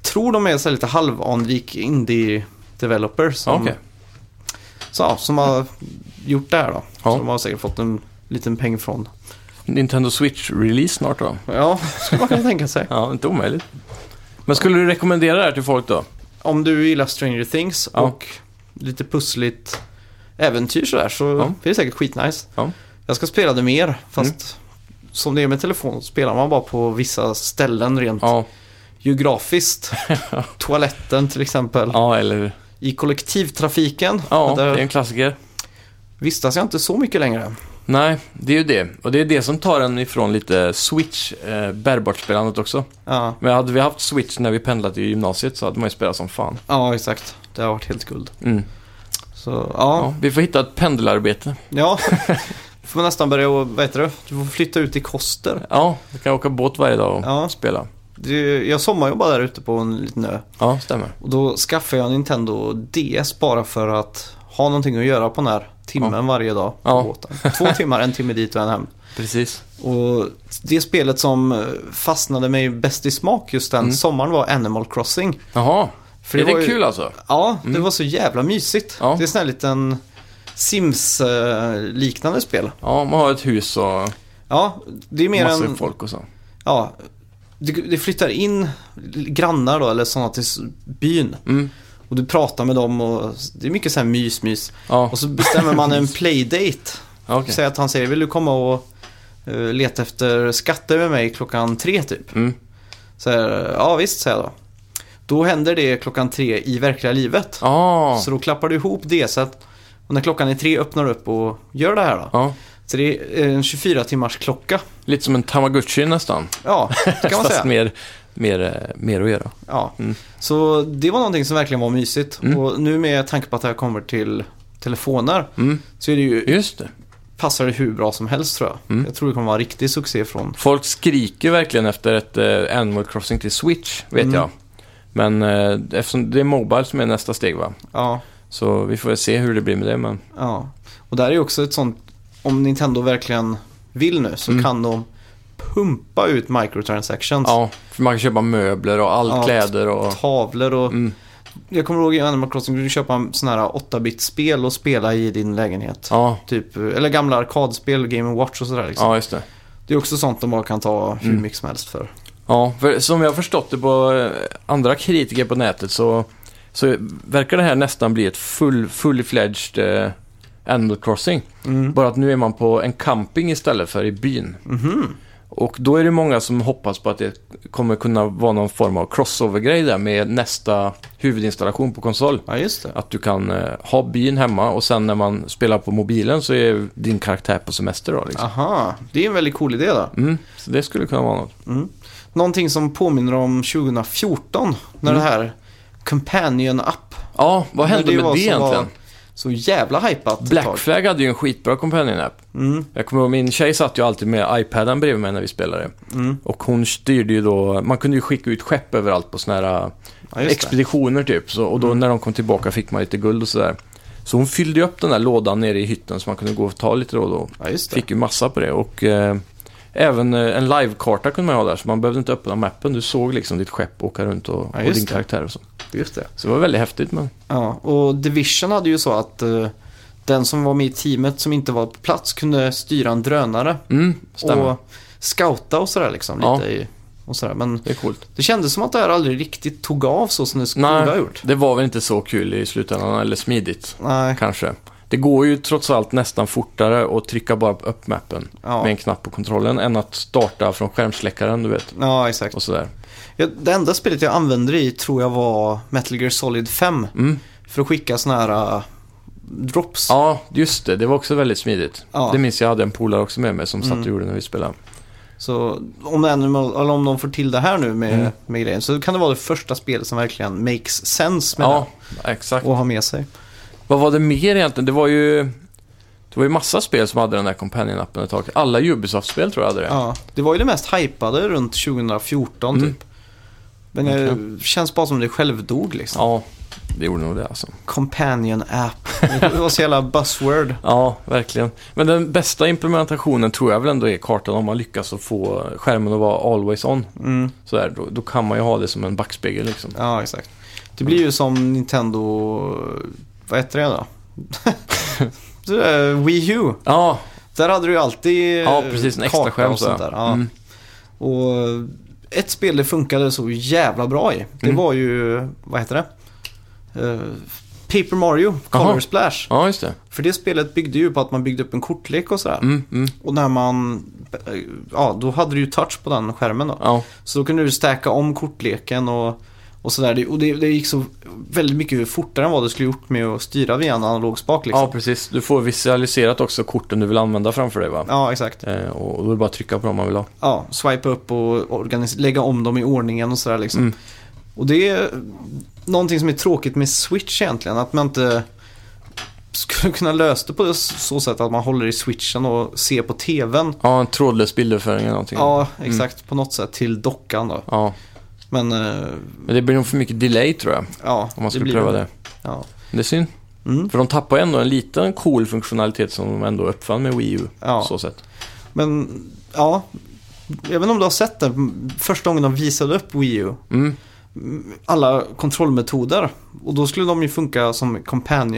[SPEAKER 1] Tror de är så här lite halvanrik indie-developer
[SPEAKER 2] Ja,
[SPEAKER 1] som,
[SPEAKER 2] okej.
[SPEAKER 1] så, ja, som har gjort det här då.
[SPEAKER 2] Ja.
[SPEAKER 1] Så de har säkert fått en liten peng från.
[SPEAKER 2] Nintendo Switch-release snart då.
[SPEAKER 1] Ja, skulle man kunna tänka sig.
[SPEAKER 2] Ja, inte omöjligt. Men skulle du rekommendera det här till folk då?
[SPEAKER 1] Om du gillar Stranger Things
[SPEAKER 2] Ja.
[SPEAKER 1] och lite pussligt äventyr sådär så
[SPEAKER 2] Ja.
[SPEAKER 1] det är säkert skitnice.
[SPEAKER 2] Ja. Mm.
[SPEAKER 1] Jag ska spela det mer, fast som det är med telefon spelar man bara på vissa ställen rent
[SPEAKER 2] Ja,
[SPEAKER 1] geografiskt. Toaletten till exempel.
[SPEAKER 2] ja eller...
[SPEAKER 1] I kollektivtrafiken,
[SPEAKER 2] Ja, det är en
[SPEAKER 1] där
[SPEAKER 2] klassiker.
[SPEAKER 1] vistas jag inte så mycket längre.
[SPEAKER 2] Nej, det är ju det. Och det är det som tar en ifrån lite Switch, eh, bärbart spelandet också.
[SPEAKER 1] Ja,
[SPEAKER 2] Men hade vi haft Switch när vi pendlat i gymnasiet så hade man ju spelat som fan.
[SPEAKER 1] ja exakt. Det har varit helt guld.
[SPEAKER 2] Mm.
[SPEAKER 1] Så
[SPEAKER 2] Ja.
[SPEAKER 1] ja,
[SPEAKER 2] vi får hitta ett pendelarbete.
[SPEAKER 1] ja. får man nästan börja, och- vad heter det, du får flytta ut i Koster.
[SPEAKER 2] Ja, vi kan åka båt varje dag och
[SPEAKER 1] Ja.
[SPEAKER 2] spela.
[SPEAKER 1] Det, jag sommarjobbade där ute på en liten ö.
[SPEAKER 2] Ja, stämmer.
[SPEAKER 1] Och då skaffade jag en Nintendo DS bara för att ha någonting att göra på den här timmen varje dag på
[SPEAKER 2] Ja.
[SPEAKER 1] båten. Två timmar, en timme dit och en hem.
[SPEAKER 2] Precis.
[SPEAKER 1] Och det spelet som eh, fastnade mig bäst i smak just den sommaren var Animal Crossing.
[SPEAKER 2] Jaha,
[SPEAKER 1] För
[SPEAKER 2] Mm. är det
[SPEAKER 1] var ju-
[SPEAKER 2] kul alltså?
[SPEAKER 1] Ja, det var så jävla mysigt.
[SPEAKER 2] Ja.
[SPEAKER 1] Det är en sån här liten Sims-liknande spel.
[SPEAKER 2] Ja, man har ett hus och
[SPEAKER 1] Ja, det är mer
[SPEAKER 2] massor
[SPEAKER 1] en...
[SPEAKER 2] folk och så.
[SPEAKER 1] Ja, det, det flyttar in grannar då, eller sådana till s- byn.
[SPEAKER 2] Mm.
[SPEAKER 1] Och du pratar med dem och det är mycket så här mys-mys.
[SPEAKER 2] Ja,
[SPEAKER 1] Och så bestämmer man en playdate.
[SPEAKER 2] ja, okej.
[SPEAKER 1] Säg att han säger, vill du komma och eh, leta efter skatter med mig klockan tre typ?
[SPEAKER 2] Mm.
[SPEAKER 1] Så här, ja visst, säger jag då. Då händer det klockan tre i verkliga livet.
[SPEAKER 2] Ah,
[SPEAKER 1] Så då klappar du ihop DSet och när klockan är tre öppnar du upp och gör det här då.
[SPEAKER 2] ja.
[SPEAKER 1] Så det är en 24 timmars klocka.
[SPEAKER 2] Lite som en tamagotchi nästan.
[SPEAKER 1] Ja, det kan man
[SPEAKER 2] Fast
[SPEAKER 1] säga.
[SPEAKER 2] mer, mer, eh, mer att göra.
[SPEAKER 1] Ja.
[SPEAKER 2] Mm.
[SPEAKER 1] Så det var någonting som verkligen var mysigt. Och nu med tanke på att det här kommer till telefoner
[SPEAKER 2] Mm.
[SPEAKER 1] så är det ju,
[SPEAKER 2] Just det.
[SPEAKER 1] passar det hur bra som helst tror jag.
[SPEAKER 2] Mm.
[SPEAKER 1] Jag tror det kommer vara en riktig succé från...
[SPEAKER 2] Folk skriker verkligen efter ett eh, Animal Crossing till Switch, vet
[SPEAKER 1] Mm.
[SPEAKER 2] jag. Men eh, eftersom det är Mobile som är nästa steg va?
[SPEAKER 1] Ja,
[SPEAKER 2] Så vi får väl se hur det blir med det. Men...
[SPEAKER 1] Ja, och där är ju också ett sånt, om Nintendo verkligen vill nu
[SPEAKER 2] Mm.
[SPEAKER 1] så kan de pumpa ut microtransactions.
[SPEAKER 2] Ja, för man kan köpa möbler och all
[SPEAKER 1] Ja,
[SPEAKER 2] kläder och...
[SPEAKER 1] Tavlor och...
[SPEAKER 2] Mm.
[SPEAKER 1] Jag kommer ihåg i Animal Crossing, du kunde köpa en sån här 8-bit-spel och spela i din lägenhet.
[SPEAKER 2] Ja,
[SPEAKER 1] Typ, eller gamla arkadspel, Game Watch och sådär liksom.
[SPEAKER 2] ja, Mm. just det.
[SPEAKER 1] Det är också sånt de bara kan ta hur mycket som helst för.
[SPEAKER 2] Ja, för som jag har förstått det på eh, andra kritiker på nätet så, så verkar det här nästan bli ett full, full-fledged eh, Animal Crossing.
[SPEAKER 1] Mm.
[SPEAKER 2] Bara att nu är man på en camping istället för i byn.
[SPEAKER 1] Mhm.
[SPEAKER 2] Och då är det många som hoppas på att det kommer kunna vara någon form av crossover-grej där med nästa huvudinstallation på konsol.
[SPEAKER 1] Ja, just det.
[SPEAKER 2] Att du kan eh, ha byn hemma och sen när man spelar på mobilen så är din karaktär på semester då liksom.
[SPEAKER 1] Aha, det är en väldigt cool idé då.
[SPEAKER 2] Mm, så det skulle kunna vara något.
[SPEAKER 1] Mm. Någonting som påminner om 2014 när det här Companion App
[SPEAKER 2] Ja, Mm. vad hände
[SPEAKER 1] Men
[SPEAKER 2] med
[SPEAKER 1] var
[SPEAKER 2] det
[SPEAKER 1] som
[SPEAKER 2] egentligen?
[SPEAKER 1] var Så jävla hypat ett
[SPEAKER 2] Black
[SPEAKER 1] tag.
[SPEAKER 2] Flag hade ju en skitbra companion app.
[SPEAKER 1] Mm,
[SPEAKER 2] Jag kommer ihåg, min tjej satt ju alltid med iPaden bredvid mig när vi spelade.
[SPEAKER 1] mm.
[SPEAKER 2] Och hon styrde ju då, man kunde ju skicka ut skepp överallt på såna här eh,
[SPEAKER 1] Ja, just det. Mm.
[SPEAKER 2] expeditioner typ. Så, och då när de kom tillbaka fick man lite guld och sådär. Så hon fyllde ju upp den där lådan nere i hytten så man kunde gå och ta lite då och då.
[SPEAKER 1] Ja, just det.
[SPEAKER 2] Fick ju massa på det och eh, även eh, en livekarta kunde man ju ha där så man behövde inte öppna mappen. Du såg liksom ditt skepp åka runt och,
[SPEAKER 1] Ja,
[SPEAKER 2] och
[SPEAKER 1] just
[SPEAKER 2] din
[SPEAKER 1] det.
[SPEAKER 2] karaktär och så.
[SPEAKER 1] Just det.
[SPEAKER 2] Så det var väldigt häftigt men...
[SPEAKER 1] Ja, och Division hade ju så att eh, den som var med i teamet som inte var på plats kunde styra en drönare
[SPEAKER 2] Mm, stämmer.
[SPEAKER 1] och scouta och sådär liksom.
[SPEAKER 2] Ja.
[SPEAKER 1] Lite i, och sådär. Men
[SPEAKER 2] Det är coolt.
[SPEAKER 1] det kändes som att det här aldrig riktigt tog av så som det skulle
[SPEAKER 2] Nej.
[SPEAKER 1] ha gjort.
[SPEAKER 2] Det var väl inte så kul i slutändan eller smidigt
[SPEAKER 1] Nej,
[SPEAKER 2] kanske. Det går ju trots allt nästan fortare att trycka bara på upp mappen
[SPEAKER 1] Ja.
[SPEAKER 2] med en knapp på kontrollen än att starta från skärmsläckaren, du vet.
[SPEAKER 1] Ja, exakt.
[SPEAKER 2] Och sådär.
[SPEAKER 1] Ja, det enda spelet jag använde det i tror jag var Metal Gear Solid 5.
[SPEAKER 2] Mm.
[SPEAKER 1] För att skicka såna här äh, drops.
[SPEAKER 2] Ja, just det. Det var också väldigt smidigt.
[SPEAKER 1] Ja. Mm.
[SPEAKER 2] Det minns jag hade en polare också med mig som satt och gjorde när vi spelade.
[SPEAKER 1] Så om, Animal, eller om de får till det här nu med,
[SPEAKER 2] Mm.
[SPEAKER 1] med grejen så kan det vara det första spelet som verkligen makes sense med
[SPEAKER 2] Ja, exakt.
[SPEAKER 1] det och ha med sig.
[SPEAKER 2] Vad var det mer egentligen? Det var ju... Det var ju massa spel som hade den där Companion-appen ett tag. Alla Ubisoft-spel tror jag hade det.
[SPEAKER 1] Ja, det var ju det mest hypade runt 2014
[SPEAKER 2] Mm.
[SPEAKER 1] typ. Men det känns bara som det självdog liksom.
[SPEAKER 2] Ja, det gjorde nog det alltså.
[SPEAKER 1] Companion app. Det var så jävla buzzword.
[SPEAKER 2] Ja, verkligen. Men den bästa implementationen tror jag väl ändå är kartan om man lyckas att få skärmen att vara always on.
[SPEAKER 1] Mm.
[SPEAKER 2] Sådär, då, då kan man ju ha det som en backspegel liksom.
[SPEAKER 1] Ja, exakt. Det blir ju som Nintendo... Vad heter det då? Det där, Wii U.
[SPEAKER 2] Ja,
[SPEAKER 1] Där hade du ju alltid eh,
[SPEAKER 2] ja precis. En extra
[SPEAKER 1] karta
[SPEAKER 2] skärm
[SPEAKER 1] och
[SPEAKER 2] så.
[SPEAKER 1] sånt där. Ja.
[SPEAKER 2] Mm.
[SPEAKER 1] Och eh, ett spel det funkade så jävla bra i. Det
[SPEAKER 2] Mm.
[SPEAKER 1] var ju, vad heter det? Eh, Paper Mario, Color
[SPEAKER 2] Jaha.
[SPEAKER 1] Splash.
[SPEAKER 2] Ja, just det.
[SPEAKER 1] För det spelet byggde ju på att man byggde upp en kortlek och sådär.
[SPEAKER 2] Mm, mm.
[SPEAKER 1] Och när man, eh, ja då hade du ju touch på den skärmen då.
[SPEAKER 2] Ja,
[SPEAKER 1] Så då kunde du stacka om kortleken och, och sådär. Det- Och det, det gick så väldigt mycket fortare än vad du skulle gjort med att styra via en analog spak liksom.
[SPEAKER 2] ja, precis. Du får visualiserat också korten du vill använda framför dig va?
[SPEAKER 1] Ja, exakt.
[SPEAKER 2] Eh, och och då är det bara att trycka på dem man vill ha.
[SPEAKER 1] Ja, swipa upp och organis- lägga om dem i ordningen och sådär liksom.
[SPEAKER 2] Mm.
[SPEAKER 1] Och det är någonting som är tråkigt med Switch egentligen. Att man inte skulle kunna lösa det på så sätt att man håller i switchen och ser på tvn.
[SPEAKER 2] Ja, en trådlös bildöverföring eller någonting.
[SPEAKER 1] Ja, exakt. På något sätt till dockan då.
[SPEAKER 2] ja.
[SPEAKER 1] Men eh,
[SPEAKER 2] Men det blir nog för mycket delay tror jag,
[SPEAKER 1] ja,
[SPEAKER 2] om man skulle
[SPEAKER 1] blir
[SPEAKER 2] pröva det.
[SPEAKER 1] Ja.
[SPEAKER 2] Det är synd.
[SPEAKER 1] Mm.
[SPEAKER 2] För de tappar ju ändå en liten cool funktionalitet som de ändå uppfann med Wii U.
[SPEAKER 1] Ja.
[SPEAKER 2] Så sätt.
[SPEAKER 1] Men ja, jag vet inte om du har sett det. Första gången de visade upp Wii U.
[SPEAKER 2] Mm.
[SPEAKER 1] Alla kontrollmetoder. Och då skulle de ju funka som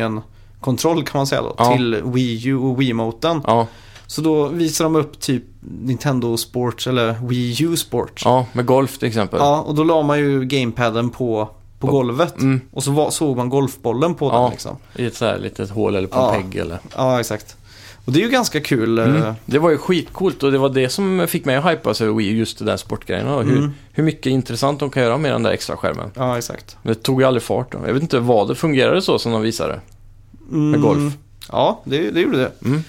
[SPEAKER 1] companion-kontroll kan man säga då.
[SPEAKER 2] Ja.
[SPEAKER 1] Till Wii U och Wiimoten.
[SPEAKER 2] Ja.
[SPEAKER 1] Så då visar de upp typ Nintendo Sports eller Wii U Sports. Ja,
[SPEAKER 2] ja, med golf till exempel.
[SPEAKER 1] och då la man ju gamepaden på, på
[SPEAKER 2] På-
[SPEAKER 1] golvet.
[SPEAKER 2] Mm.
[SPEAKER 1] Och så var, såg man golfbollen på
[SPEAKER 2] Ja.
[SPEAKER 1] den liksom.
[SPEAKER 2] I ett så här litet hål eller på
[SPEAKER 1] Ja.
[SPEAKER 2] en pegg eller.
[SPEAKER 1] Ja, exakt. Och det är ju ganska kul. eh,
[SPEAKER 2] Mm. Det var ju skitcoolt och det var det som fick mig att hypas över Wii U, just det där sportgrejen. Och hur,
[SPEAKER 1] Mm.
[SPEAKER 2] hur mycket intressant de kan göra med den där extra skärmen.
[SPEAKER 1] Ja, exakt.
[SPEAKER 2] Men det tog ju aldrig fart då. Jag vet inte vad det fungerade så som de visade.
[SPEAKER 1] Mm,
[SPEAKER 2] Med golf.
[SPEAKER 1] Ja, det, det gjorde det.
[SPEAKER 2] Mm.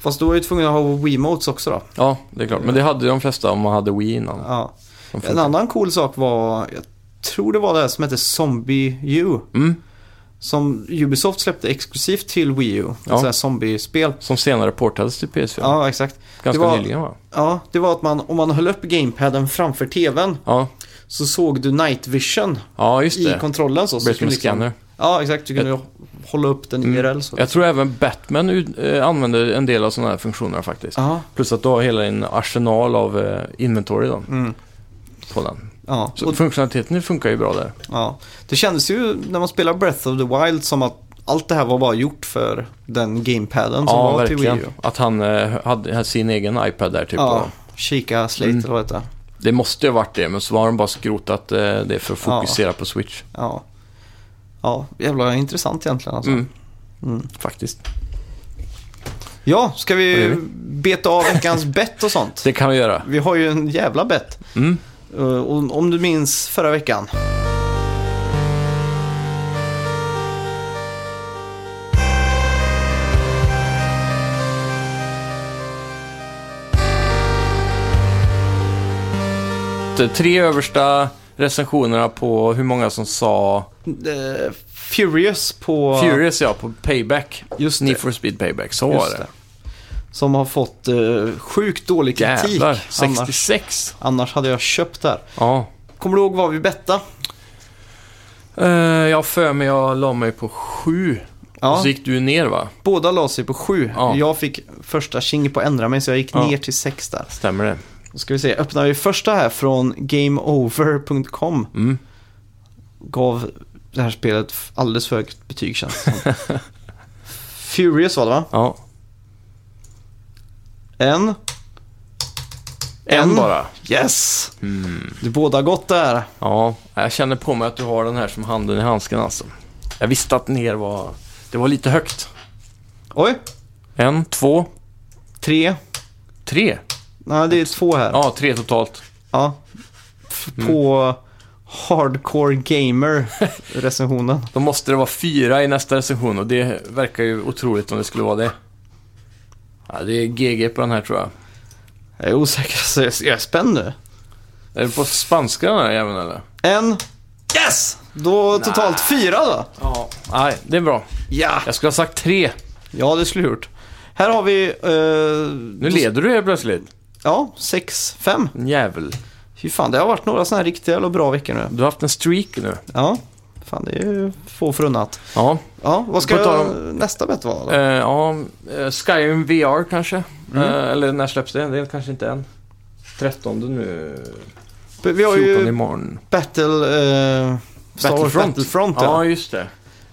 [SPEAKER 1] Fast då var ju tvungen att ha Wiimotes också då.
[SPEAKER 2] Ja, det är klart. Men det hade de flesta om man hade Wii innan.
[SPEAKER 1] Ja.
[SPEAKER 2] De
[SPEAKER 1] En
[SPEAKER 2] funkar.
[SPEAKER 1] annan cool sak var, jag tror det var det här som hette Zombie U.
[SPEAKER 2] Mm.
[SPEAKER 1] Som Ubisoft släppte exklusivt till Wii U. Ett
[SPEAKER 2] Ja.
[SPEAKER 1] sånt här zombiespel.
[SPEAKER 2] Som senare portades till PS4.
[SPEAKER 1] Ja, exakt.
[SPEAKER 2] Ganska
[SPEAKER 1] det var-
[SPEAKER 2] nyligen va?
[SPEAKER 1] Ja, det var att man, om man höll upp gamepaden framför tvn
[SPEAKER 2] Ja,
[SPEAKER 1] så såg du night vision
[SPEAKER 2] ja just
[SPEAKER 1] i
[SPEAKER 2] det.
[SPEAKER 1] kontrollen. Så, så
[SPEAKER 2] Breath
[SPEAKER 1] du kunde liksom-
[SPEAKER 2] Scanner. Mm.
[SPEAKER 1] Ja, exakt. Du kunde hålla upp den IRL. Så.
[SPEAKER 2] Jag tror även Batman ut- eh, använder en del av sådana här funktioner faktiskt.
[SPEAKER 1] Ja,
[SPEAKER 2] Plus att du har hela en arsenal av eh, inventory då,
[SPEAKER 1] mm.
[SPEAKER 2] på den.
[SPEAKER 1] ja.
[SPEAKER 2] Så
[SPEAKER 1] Och,
[SPEAKER 2] funktionaliteten funkar ju bra där.
[SPEAKER 1] ja. Det kändes ju när man spelar Breath of the Wild som att allt det här var bara gjort för den gamepaden som
[SPEAKER 2] Ja,
[SPEAKER 1] var till
[SPEAKER 2] verkligen.
[SPEAKER 1] Wii U.
[SPEAKER 2] Att han eh, hade hade sin egen iPad där typ.
[SPEAKER 1] ja,
[SPEAKER 2] då.
[SPEAKER 1] Chica Slate
[SPEAKER 2] Mm.
[SPEAKER 1] eller vad det heter.
[SPEAKER 2] Det måste ju ha varit det, men så har de bara skrotat eh, det för att
[SPEAKER 1] Ja.
[SPEAKER 2] fokusera på Switch.
[SPEAKER 1] Ja. ja, jävla intressant egentligen alltså.
[SPEAKER 2] Mm.
[SPEAKER 1] Mm.
[SPEAKER 2] Faktiskt.
[SPEAKER 1] Ja, ska
[SPEAKER 2] Vad gör
[SPEAKER 1] vi
[SPEAKER 2] vi?
[SPEAKER 1] beta av veckans bett och sånt?
[SPEAKER 2] Det kan vi göra.
[SPEAKER 1] Vi har ju en jävla bett.
[SPEAKER 2] Mm.
[SPEAKER 1] Eh, och om du minns förra veckan.
[SPEAKER 2] De tre översta recensionerna på hur många som sa
[SPEAKER 1] eh, Furious på...
[SPEAKER 2] Furious, ja, på Payback.
[SPEAKER 1] Just
[SPEAKER 2] Need
[SPEAKER 1] det.
[SPEAKER 2] for speed Payback, så var
[SPEAKER 1] Just
[SPEAKER 2] det.
[SPEAKER 1] det. Som har fått eh, sjukt dålig kritik.
[SPEAKER 2] Jävlar,
[SPEAKER 1] Annars,
[SPEAKER 2] 66.
[SPEAKER 1] annars hade jag köpt där.
[SPEAKER 2] Ja.
[SPEAKER 1] Kommer du ihåg vad vi bettade?
[SPEAKER 2] Eh, jag har för mig jag la mig på sju.
[SPEAKER 1] Ja,
[SPEAKER 2] Och så gick du ner va?
[SPEAKER 1] båda la sig på sju.
[SPEAKER 2] Ja.
[SPEAKER 1] Jag fick första tjing på att ändra mig så jag gick
[SPEAKER 2] Ja.
[SPEAKER 1] ner till sex där.
[SPEAKER 2] Stämmer det?
[SPEAKER 1] Då ska vi se, öppnar vi första här från gameover.com.
[SPEAKER 2] Mm.
[SPEAKER 1] Gav det här spelet f- alldeles för högt betyg känns det som. Furious var det va?
[SPEAKER 2] Ja.
[SPEAKER 1] En.
[SPEAKER 2] En,
[SPEAKER 1] En.
[SPEAKER 2] bara. Mm.
[SPEAKER 1] Yes! Du båda gott där.
[SPEAKER 2] Ja, jag känner på mig att du har den här som handen i handsken alltså. Jag visste att ner var... Det var lite högt.
[SPEAKER 1] Oj,
[SPEAKER 2] En, två,
[SPEAKER 1] tre.
[SPEAKER 2] tre.
[SPEAKER 1] Nej, det är två här.
[SPEAKER 2] Ja, tre totalt.
[SPEAKER 1] Ja. F- På Hardcore Gamer-recensionen.
[SPEAKER 2] Då måste det vara fyra i nästa recension och det verkar ju otroligt om det skulle vara det. Ja, det är GG på den här tror jag.
[SPEAKER 1] Jag är osäker, så jag jag är spänd nu.
[SPEAKER 2] Är det på spanska den här jäveln eller?
[SPEAKER 1] En,
[SPEAKER 2] Yes!
[SPEAKER 1] då totalt fyra då.
[SPEAKER 2] Ja. Nej, det är bra.
[SPEAKER 1] Ja,
[SPEAKER 2] Jag skulle ha sagt tre.
[SPEAKER 1] ja det skulle jag gjort. Här har vi... eh,
[SPEAKER 2] Nu leder du helt plötsligt.
[SPEAKER 1] Ja, sex, fem.
[SPEAKER 2] En jävel.
[SPEAKER 1] Fy fan, det har varit några sådana här riktiga jävla bra veckor nu.
[SPEAKER 2] Du har haft en streak nu.
[SPEAKER 1] Ja, fan det är ju få förunnat.
[SPEAKER 2] Ja.
[SPEAKER 1] Ja, vad
[SPEAKER 2] På
[SPEAKER 1] ska
[SPEAKER 2] tal
[SPEAKER 1] nästa bett vara då?
[SPEAKER 2] Eh, ja, eh, Skyrim VR kanske. Eh, eller när släpps det? Det är kanske inte än. 13 nu.
[SPEAKER 1] Vi har
[SPEAKER 2] 14
[SPEAKER 1] ju
[SPEAKER 2] imorgon.
[SPEAKER 1] Battle... eh, Star Wars
[SPEAKER 2] Battlefront.
[SPEAKER 1] Battlefront ja.
[SPEAKER 2] Ja, just det.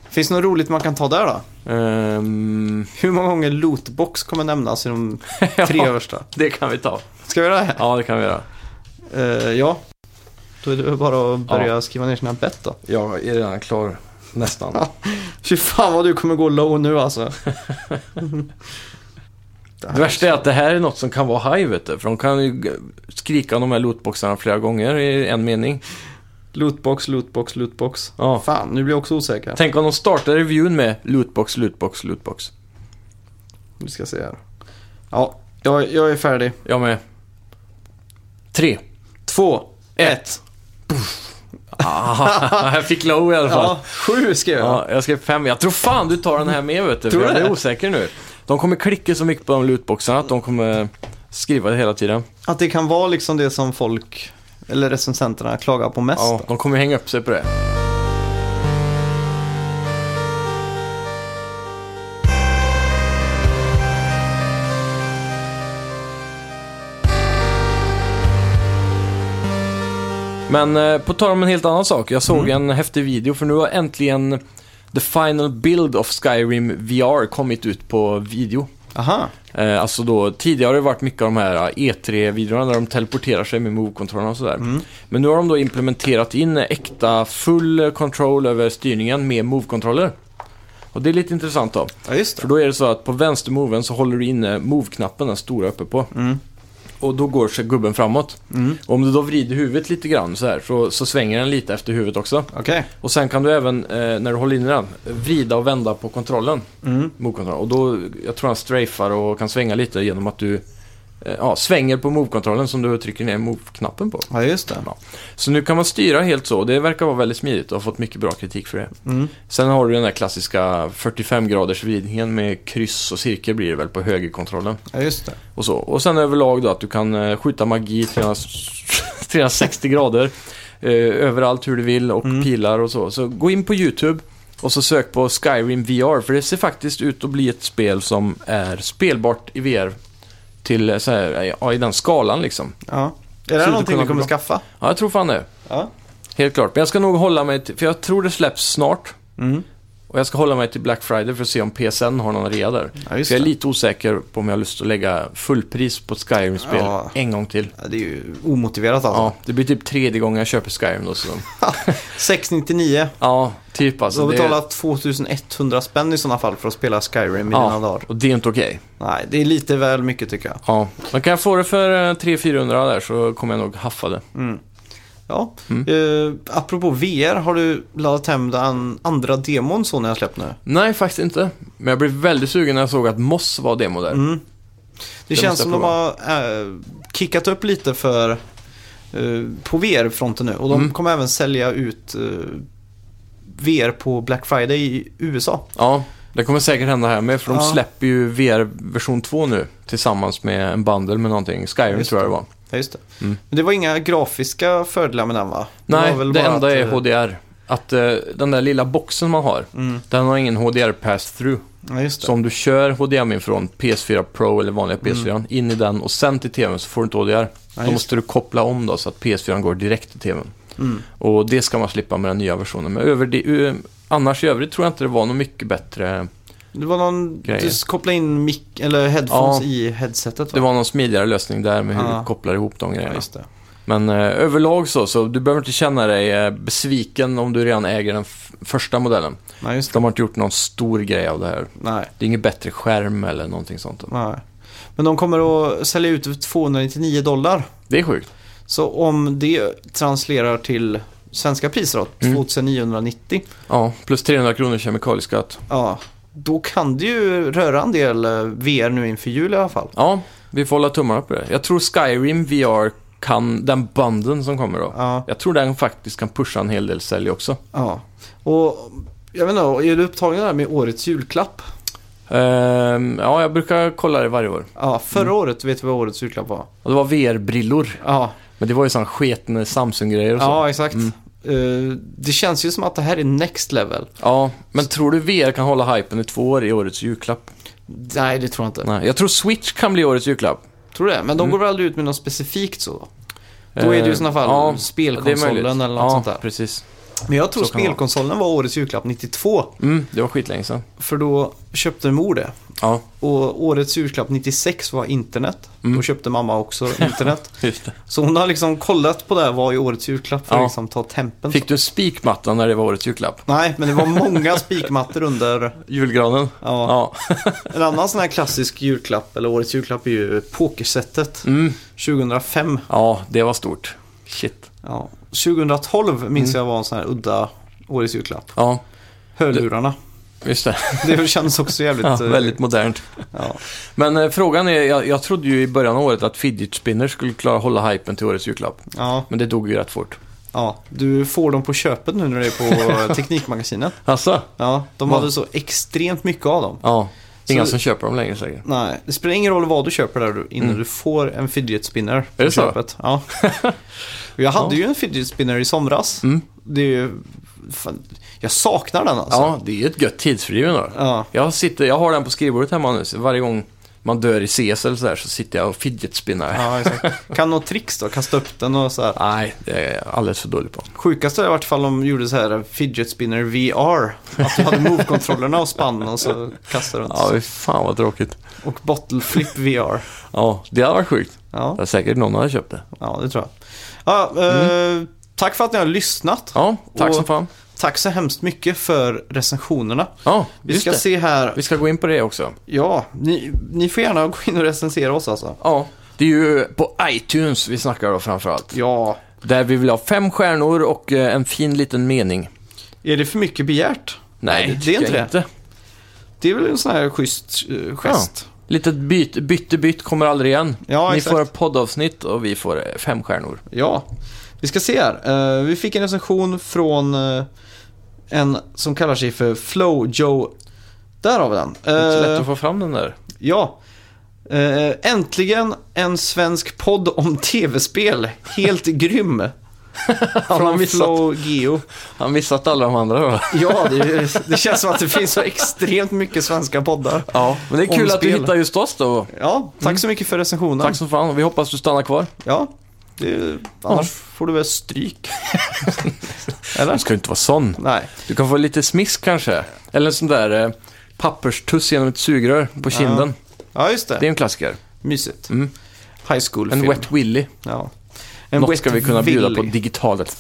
[SPEAKER 1] Finns det något roligt man kan ta där då?
[SPEAKER 2] Ehm,
[SPEAKER 1] Hur många gånger lootbox kommer nämnas i de tre
[SPEAKER 2] ja,
[SPEAKER 1] första?
[SPEAKER 2] det kan vi ta.
[SPEAKER 1] Ska vi göra det? Här?
[SPEAKER 2] Ja, det kan vi göra.
[SPEAKER 1] Eh, ja. Då är det väl bara att börja
[SPEAKER 2] Ja.
[SPEAKER 1] skriva ner sina bett då.
[SPEAKER 2] Jag är redan klar. Nästan.
[SPEAKER 1] Fy fan vad du kommer gå low nu alltså.
[SPEAKER 2] Det värsta är att det här är något som kan vara high, vet du. För de kan ju g- skrika om de här lootboxarna flera gånger i en mening.
[SPEAKER 1] Lootbox, lootbox, lootbox.
[SPEAKER 2] Ja.
[SPEAKER 1] Fan, nu blir jag också osäker.
[SPEAKER 2] Tänk om de startar reviewen med lootbox, lootbox, lootbox.
[SPEAKER 1] Vi ska se här. Ja, jag, jag är färdig.
[SPEAKER 2] Jag med. Tre.
[SPEAKER 1] Två, ett.
[SPEAKER 2] Ah, jag fick low i alla fall.
[SPEAKER 1] Ja, sju ska jag göra.
[SPEAKER 2] Ja, jag skrev fem. Jag tror fan du tar den här med vet du.
[SPEAKER 1] Tror
[SPEAKER 2] för
[SPEAKER 1] du
[SPEAKER 2] jag
[SPEAKER 1] det?
[SPEAKER 2] är osäker nu. De kommer klicka så mycket på de lootboxarna att de kommer skriva det hela tiden.
[SPEAKER 1] Att det kan vara liksom det som folk, eller recensenterna, klagar på mest.
[SPEAKER 2] Ja,
[SPEAKER 1] då.
[SPEAKER 2] de kommer hänga upp sig på det. Men eh, på tal om en helt annan sak. Jag såg en häftig video för nu har äntligen The Final Build of Skyrim VR kommit ut på video.
[SPEAKER 1] Aha.
[SPEAKER 2] Eh, alltså då, tidigare har det varit mycket av de här eh, E3-videorna där de teleporterar sig med move-kontrollerna och sådär. Men nu har de då implementerat in äkta full eh, control över styrningen med move-kontroller. Och det är lite intressant då.
[SPEAKER 1] Ja, just
[SPEAKER 2] För
[SPEAKER 1] det.
[SPEAKER 2] då är det så att på vänstermoven så håller du inne move-knappen, den stora uppe på.
[SPEAKER 1] Mm.
[SPEAKER 2] Och då går sig gubben framåt.
[SPEAKER 1] Mm.
[SPEAKER 2] Och om du då vrider huvudet lite grann så här så, så svänger den lite efter huvudet också.
[SPEAKER 1] Okej.
[SPEAKER 2] Och sen kan du även, eh, när du håller inne den, vrida och vända på kontrollen.
[SPEAKER 1] Mm.
[SPEAKER 2] Move-kontrollen. Och då, jag tror han strafar och kan svänga lite genom att du eh, ja, svänger på move-kontrollen som du trycker ner move-knappen på.
[SPEAKER 1] Ja, just det.
[SPEAKER 2] Så nu kan man styra helt så. Det verkar vara väldigt smidigt och har fått mycket bra kritik för det.
[SPEAKER 1] Mm.
[SPEAKER 2] Sen har du den där klassiska 45 graders vridningen med kryss och cirkel blir det väl på högerkontrollen.
[SPEAKER 1] Ja, just det.
[SPEAKER 2] Och, så. och sen överlag då att du kan eh, skjuta magi 300 360 grader eh, överallt hur du vill och
[SPEAKER 1] Mm.
[SPEAKER 2] pilar och så. Så gå in på YouTube och så sök på Skyrim VR för det ser faktiskt ut att bli ett spel som är spelbart i VR till eh, så här, eh, ja, i den skalan liksom.
[SPEAKER 1] Ja. Är det
[SPEAKER 2] Skulle
[SPEAKER 1] här någonting
[SPEAKER 2] kunna
[SPEAKER 1] vi kommer
[SPEAKER 2] bli
[SPEAKER 1] skaffa?
[SPEAKER 2] Ja, jag tror fan det.
[SPEAKER 1] Ja.
[SPEAKER 2] Helt klart. Men jag ska nog hålla mig till, för jag tror det släpps snart.
[SPEAKER 1] Mm.
[SPEAKER 2] Och jag ska hålla mig till Black Friday för att se om PSN har någon rea där.
[SPEAKER 1] Ja, just
[SPEAKER 2] Så jag är
[SPEAKER 1] det.
[SPEAKER 2] lite osäker på om jag har lust att lägga fullpris på ett Skyrim-spel
[SPEAKER 1] Ja.
[SPEAKER 2] en gång till.
[SPEAKER 1] Ja, det är ju omotiverat alltså.
[SPEAKER 2] Ja, det blir typ tredje gången jag köper Skyrim då. Så.
[SPEAKER 1] 699.
[SPEAKER 2] Ja, typ
[SPEAKER 1] Du
[SPEAKER 2] alltså.
[SPEAKER 1] har
[SPEAKER 2] det-
[SPEAKER 1] betalat 2100 spänn i sådana fall för att spela Skyrim i dina
[SPEAKER 2] ja,
[SPEAKER 1] dagar.
[SPEAKER 2] och det är inte okej.
[SPEAKER 1] Nej, det är lite väl mycket tycker jag.
[SPEAKER 2] Ja, men kan jag få det för eh, 300-400 där så kommer jag nog haffa det.
[SPEAKER 1] Mm. Ja.
[SPEAKER 2] Mm.
[SPEAKER 1] Eh, apropå VR, har du laddat hem den andra demon så när jag släppt nu?
[SPEAKER 2] Nej, faktiskt inte. Men jag blev väldigt sugen när jag såg att Moss var demo där.
[SPEAKER 1] Mm. Det,
[SPEAKER 2] måste jag
[SPEAKER 1] känns som de har eh, kickat upp lite för eh, på VR-fronten nu. Och de
[SPEAKER 2] Mm.
[SPEAKER 1] kommer även sälja ut eh, VR på Black Friday i USA.
[SPEAKER 2] Ja, det kommer säkert hända här med för de
[SPEAKER 1] Ja.
[SPEAKER 2] släpper ju VR version 2 nu tillsammans med en bundle med någonting. Skyrim
[SPEAKER 1] Just
[SPEAKER 2] tror jag det var.
[SPEAKER 1] Ja, just det.
[SPEAKER 2] Mm.
[SPEAKER 1] Men det var inga grafiska fördelar med den va?
[SPEAKER 2] Nej,
[SPEAKER 1] var
[SPEAKER 2] det,
[SPEAKER 1] väl bara
[SPEAKER 2] enda
[SPEAKER 1] att,
[SPEAKER 2] är
[SPEAKER 1] eh,
[SPEAKER 2] HDR. Att eh, den där lilla boxen man har,
[SPEAKER 1] Mm.
[SPEAKER 2] den har ingen HDR pass-through.
[SPEAKER 1] Ja, just det.
[SPEAKER 2] Så om du kör HDMI från PS4 Pro eller vanliga PS4, in i den och sen till TVn så får du inte HDR. då
[SPEAKER 1] Mm. just
[SPEAKER 2] måste du koppla om då så att PS4 går direkt till TVn.
[SPEAKER 1] Mm.
[SPEAKER 2] Och det ska man slippa med den nya versionen. Men över det, ö, annars i övrigt tror jag inte det var något mycket bättre.
[SPEAKER 1] Det var någon,
[SPEAKER 2] Grejer.
[SPEAKER 1] du kopplade in mic, eller headphones
[SPEAKER 2] Ja.
[SPEAKER 1] i headsetet va?
[SPEAKER 2] Det var någon smidigare lösning där med hur
[SPEAKER 1] Ja.
[SPEAKER 2] du kopplar ihop de
[SPEAKER 1] ja,
[SPEAKER 2] grejerna.
[SPEAKER 1] just det.
[SPEAKER 2] Men eh, överlag så, så du behöver inte känna dig eh, besviken om du redan äger den f- första modellen.
[SPEAKER 1] Nej, just det.
[SPEAKER 2] De har inte gjort någon stor grej av det här.
[SPEAKER 1] Nej,
[SPEAKER 2] Det är ingen bättre skärm eller någonting sånt.
[SPEAKER 1] nej. Men de kommer att sälja ut för 299 dollar.
[SPEAKER 2] Det är sjukt.
[SPEAKER 1] Så om det translerar till svenska priser då,
[SPEAKER 2] Mm.
[SPEAKER 1] 2990.
[SPEAKER 2] Ja, plus 300 kronor kemikalieskatt.
[SPEAKER 1] Ja, då kan det ju röra en del eh, VR nu inför jul i alla fall.
[SPEAKER 2] Ja, vi får hålla tummarna på det. Jag tror Skyrim VR kan, den banden som kommer då.
[SPEAKER 1] Ja,
[SPEAKER 2] Jag tror den faktiskt kan pusha en hel del sälj också.
[SPEAKER 1] ja. Och jag vet inte, är du upptagen där med årets julklapp?
[SPEAKER 2] Ehm, ja, jag brukar kolla det varje år.
[SPEAKER 1] Ja, förra
[SPEAKER 2] Mm.
[SPEAKER 1] året vet vi vad årets julklapp var.
[SPEAKER 2] Och det var VR-brillor.
[SPEAKER 1] Ja,
[SPEAKER 2] Men det var ju sådana sketen Samsung-grejer och så.
[SPEAKER 1] ja exakt. Eh, det känns ju som att det här är next level.
[SPEAKER 2] Ja, men tror du VR kan hålla hypen i två år i årets julklapp?
[SPEAKER 1] Nej, det tror jag inte.
[SPEAKER 2] Nej, Mm. jag tror Switch kan bli årets julklapp.
[SPEAKER 1] Tror du det? Men de går väl aldrig ut med något specifikt så? då? Då är det ju i sådana fall
[SPEAKER 2] Eh, ja,
[SPEAKER 1] spelkonsolen eller något
[SPEAKER 2] ja,
[SPEAKER 1] sånt där.
[SPEAKER 2] precis.
[SPEAKER 1] Men jag tror
[SPEAKER 2] Så kan det vara.
[SPEAKER 1] spelkonsolen var årets julklapp 92.
[SPEAKER 2] Mm, det var skitlänge sedan.
[SPEAKER 1] För då köpte mor det.
[SPEAKER 2] Ja,
[SPEAKER 1] Och årets julklapp 96 var internet.
[SPEAKER 2] Mm.
[SPEAKER 1] Då köpte mamma också internet.
[SPEAKER 2] just det.
[SPEAKER 1] så hon har liksom kollat på det här, vad är årets julklapp för att
[SPEAKER 2] Ja.
[SPEAKER 1] liksom ta tempen.
[SPEAKER 2] Fick du en spikmatta när det var årets julklapp?
[SPEAKER 1] Nej, men det var många spikmattor under.
[SPEAKER 2] Julgranen?
[SPEAKER 1] Ja.
[SPEAKER 2] Ja.
[SPEAKER 1] En annan sån här klassisk julklapp, eller årets julklapp, är ju pokersetet.
[SPEAKER 2] Mm.
[SPEAKER 1] 2005.
[SPEAKER 2] ja, det var stort. Shit.
[SPEAKER 1] Ja. 2012 minns
[SPEAKER 2] Mm.
[SPEAKER 1] jag var en sån här udda årets julklapp.
[SPEAKER 2] Ja,
[SPEAKER 1] Hörlurarna.
[SPEAKER 2] just det.
[SPEAKER 1] Det känns också jävligt...
[SPEAKER 2] Ja,
[SPEAKER 1] eh,
[SPEAKER 2] väldigt modernt.
[SPEAKER 1] Ja.
[SPEAKER 2] Men eh, frågan är, jag, jag trodde ju i början av året att fidget spinners skulle klara hålla hypen till årets julklapp.
[SPEAKER 1] Ja,
[SPEAKER 2] Men det dog ju rätt fort.
[SPEAKER 1] ja, du får dem på köpet nu när det är på Teknikmagasinet.
[SPEAKER 2] Alltså?
[SPEAKER 1] Ja, de
[SPEAKER 2] Ja.
[SPEAKER 1] hade så extremt mycket av dem.
[SPEAKER 2] Ja. Inga
[SPEAKER 1] Så-
[SPEAKER 2] som köper dem längre säkert.
[SPEAKER 1] Nej, det spelar ingen roll vad du köper där du- innan du får en fidget spinner. på
[SPEAKER 2] Mm. det så?
[SPEAKER 1] Köpet. Ja. Jag hade ju en fidget spinner i somras.
[SPEAKER 2] Mm.
[SPEAKER 1] Det är ju, fan, jag saknar den alltså.
[SPEAKER 2] Ja, det är ju ett gött tidsfördriv ändå.
[SPEAKER 1] Ja.
[SPEAKER 2] Jag, sitter, jag har den på skrivbordet hemma nu, så varje gång man dör i CS eller sådär så sitter jag och fidget spinnar.
[SPEAKER 1] Ja, exakt. Kan något tricks då? Kasta upp den och så här.
[SPEAKER 2] Nej, det är jag alldeles för dålig på.
[SPEAKER 1] Sjukaste i vart fall de gjorde så här fidget spinner VR. Att de hade move-kontrollerna och spann och så kastade runt.
[SPEAKER 2] Ja, fy fan vad tråkigt.
[SPEAKER 1] Och bottle flip VR.
[SPEAKER 2] Ja, det hade varit sjukt.
[SPEAKER 1] Ja.
[SPEAKER 2] Det är säkert någon hade köpt det.
[SPEAKER 1] Ja, det tror jag. Ja, eh, Tack för att ni har lyssnat.
[SPEAKER 2] Mm. Ja, tack
[SPEAKER 1] Och-
[SPEAKER 2] som fan.
[SPEAKER 1] Tack så hemskt mycket för recensionerna.
[SPEAKER 2] Ja,
[SPEAKER 1] Vi
[SPEAKER 2] just
[SPEAKER 1] ska
[SPEAKER 2] det.
[SPEAKER 1] se här.
[SPEAKER 2] Vi ska gå in på det också.
[SPEAKER 1] Ja, ni, ni får gärna gå in och recensera oss alltså.
[SPEAKER 2] Ja, det är ju på iTunes vi snackar då framförallt.
[SPEAKER 1] Ja,
[SPEAKER 2] Där vi vill ha fem stjärnor och eh, en fin liten mening.
[SPEAKER 1] är det för mycket begärt?
[SPEAKER 2] Nej,
[SPEAKER 1] det, det är inte det.
[SPEAKER 2] inte.
[SPEAKER 1] Det är väl en sån här schysst eh, gest.
[SPEAKER 2] Litet byt, bytte bytt kommer aldrig igen.
[SPEAKER 1] Ja,
[SPEAKER 2] Ni
[SPEAKER 1] exakt.
[SPEAKER 2] får ett poddavsnitt och vi får eh, fem stjärnor.
[SPEAKER 1] Ja. Vi ska se här. Eh, vi fick en recension från eh, en som kallar sig för Flow Joe. Där har vi den.
[SPEAKER 2] Det är inte så lätt
[SPEAKER 1] Eh,
[SPEAKER 2] att få fram den där.
[SPEAKER 1] Ja. Eh, äntligen en svensk podd om tv-spel. Helt grym.
[SPEAKER 2] Han har
[SPEAKER 1] Från
[SPEAKER 2] missat.
[SPEAKER 1] Flow Geo.
[SPEAKER 2] Han missat alla de andra då.
[SPEAKER 1] Ja, det, det känns som att det finns så extremt mycket svenska poddar.
[SPEAKER 2] Ja, men det är
[SPEAKER 1] Om
[SPEAKER 2] kul att du
[SPEAKER 1] spel.
[SPEAKER 2] hittar just oss då.
[SPEAKER 1] Ja, tack så mycket för recensionen.
[SPEAKER 2] Tack som fan. Vi hoppas du stannar kvar.
[SPEAKER 1] Ja, det, annars får du väl stryk. Eller?
[SPEAKER 2] ska inte vara sån.
[SPEAKER 1] Nej.
[SPEAKER 2] Du kan få lite smisk kanske. Eller en sån där eh, papperstuss genom ett sugrör på kinden.
[SPEAKER 1] Ja, just det.
[SPEAKER 2] Det är en klassiker.
[SPEAKER 1] Mysigt.
[SPEAKER 2] Mm.
[SPEAKER 1] High school
[SPEAKER 2] En
[SPEAKER 1] film.
[SPEAKER 2] wet willy.
[SPEAKER 1] Ja. En
[SPEAKER 2] Något
[SPEAKER 1] wet
[SPEAKER 2] ska vi kunna bjuda på
[SPEAKER 1] willy.
[SPEAKER 2] digitalt.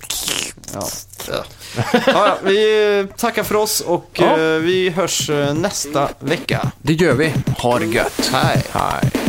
[SPEAKER 1] Ja. Ja. Ja, vi eh, tackar för oss och
[SPEAKER 2] Ja.
[SPEAKER 1] eh, vi hörs eh, nästa vecka.
[SPEAKER 2] Det gör vi. Ha det gött.
[SPEAKER 1] Hej.
[SPEAKER 2] Hej.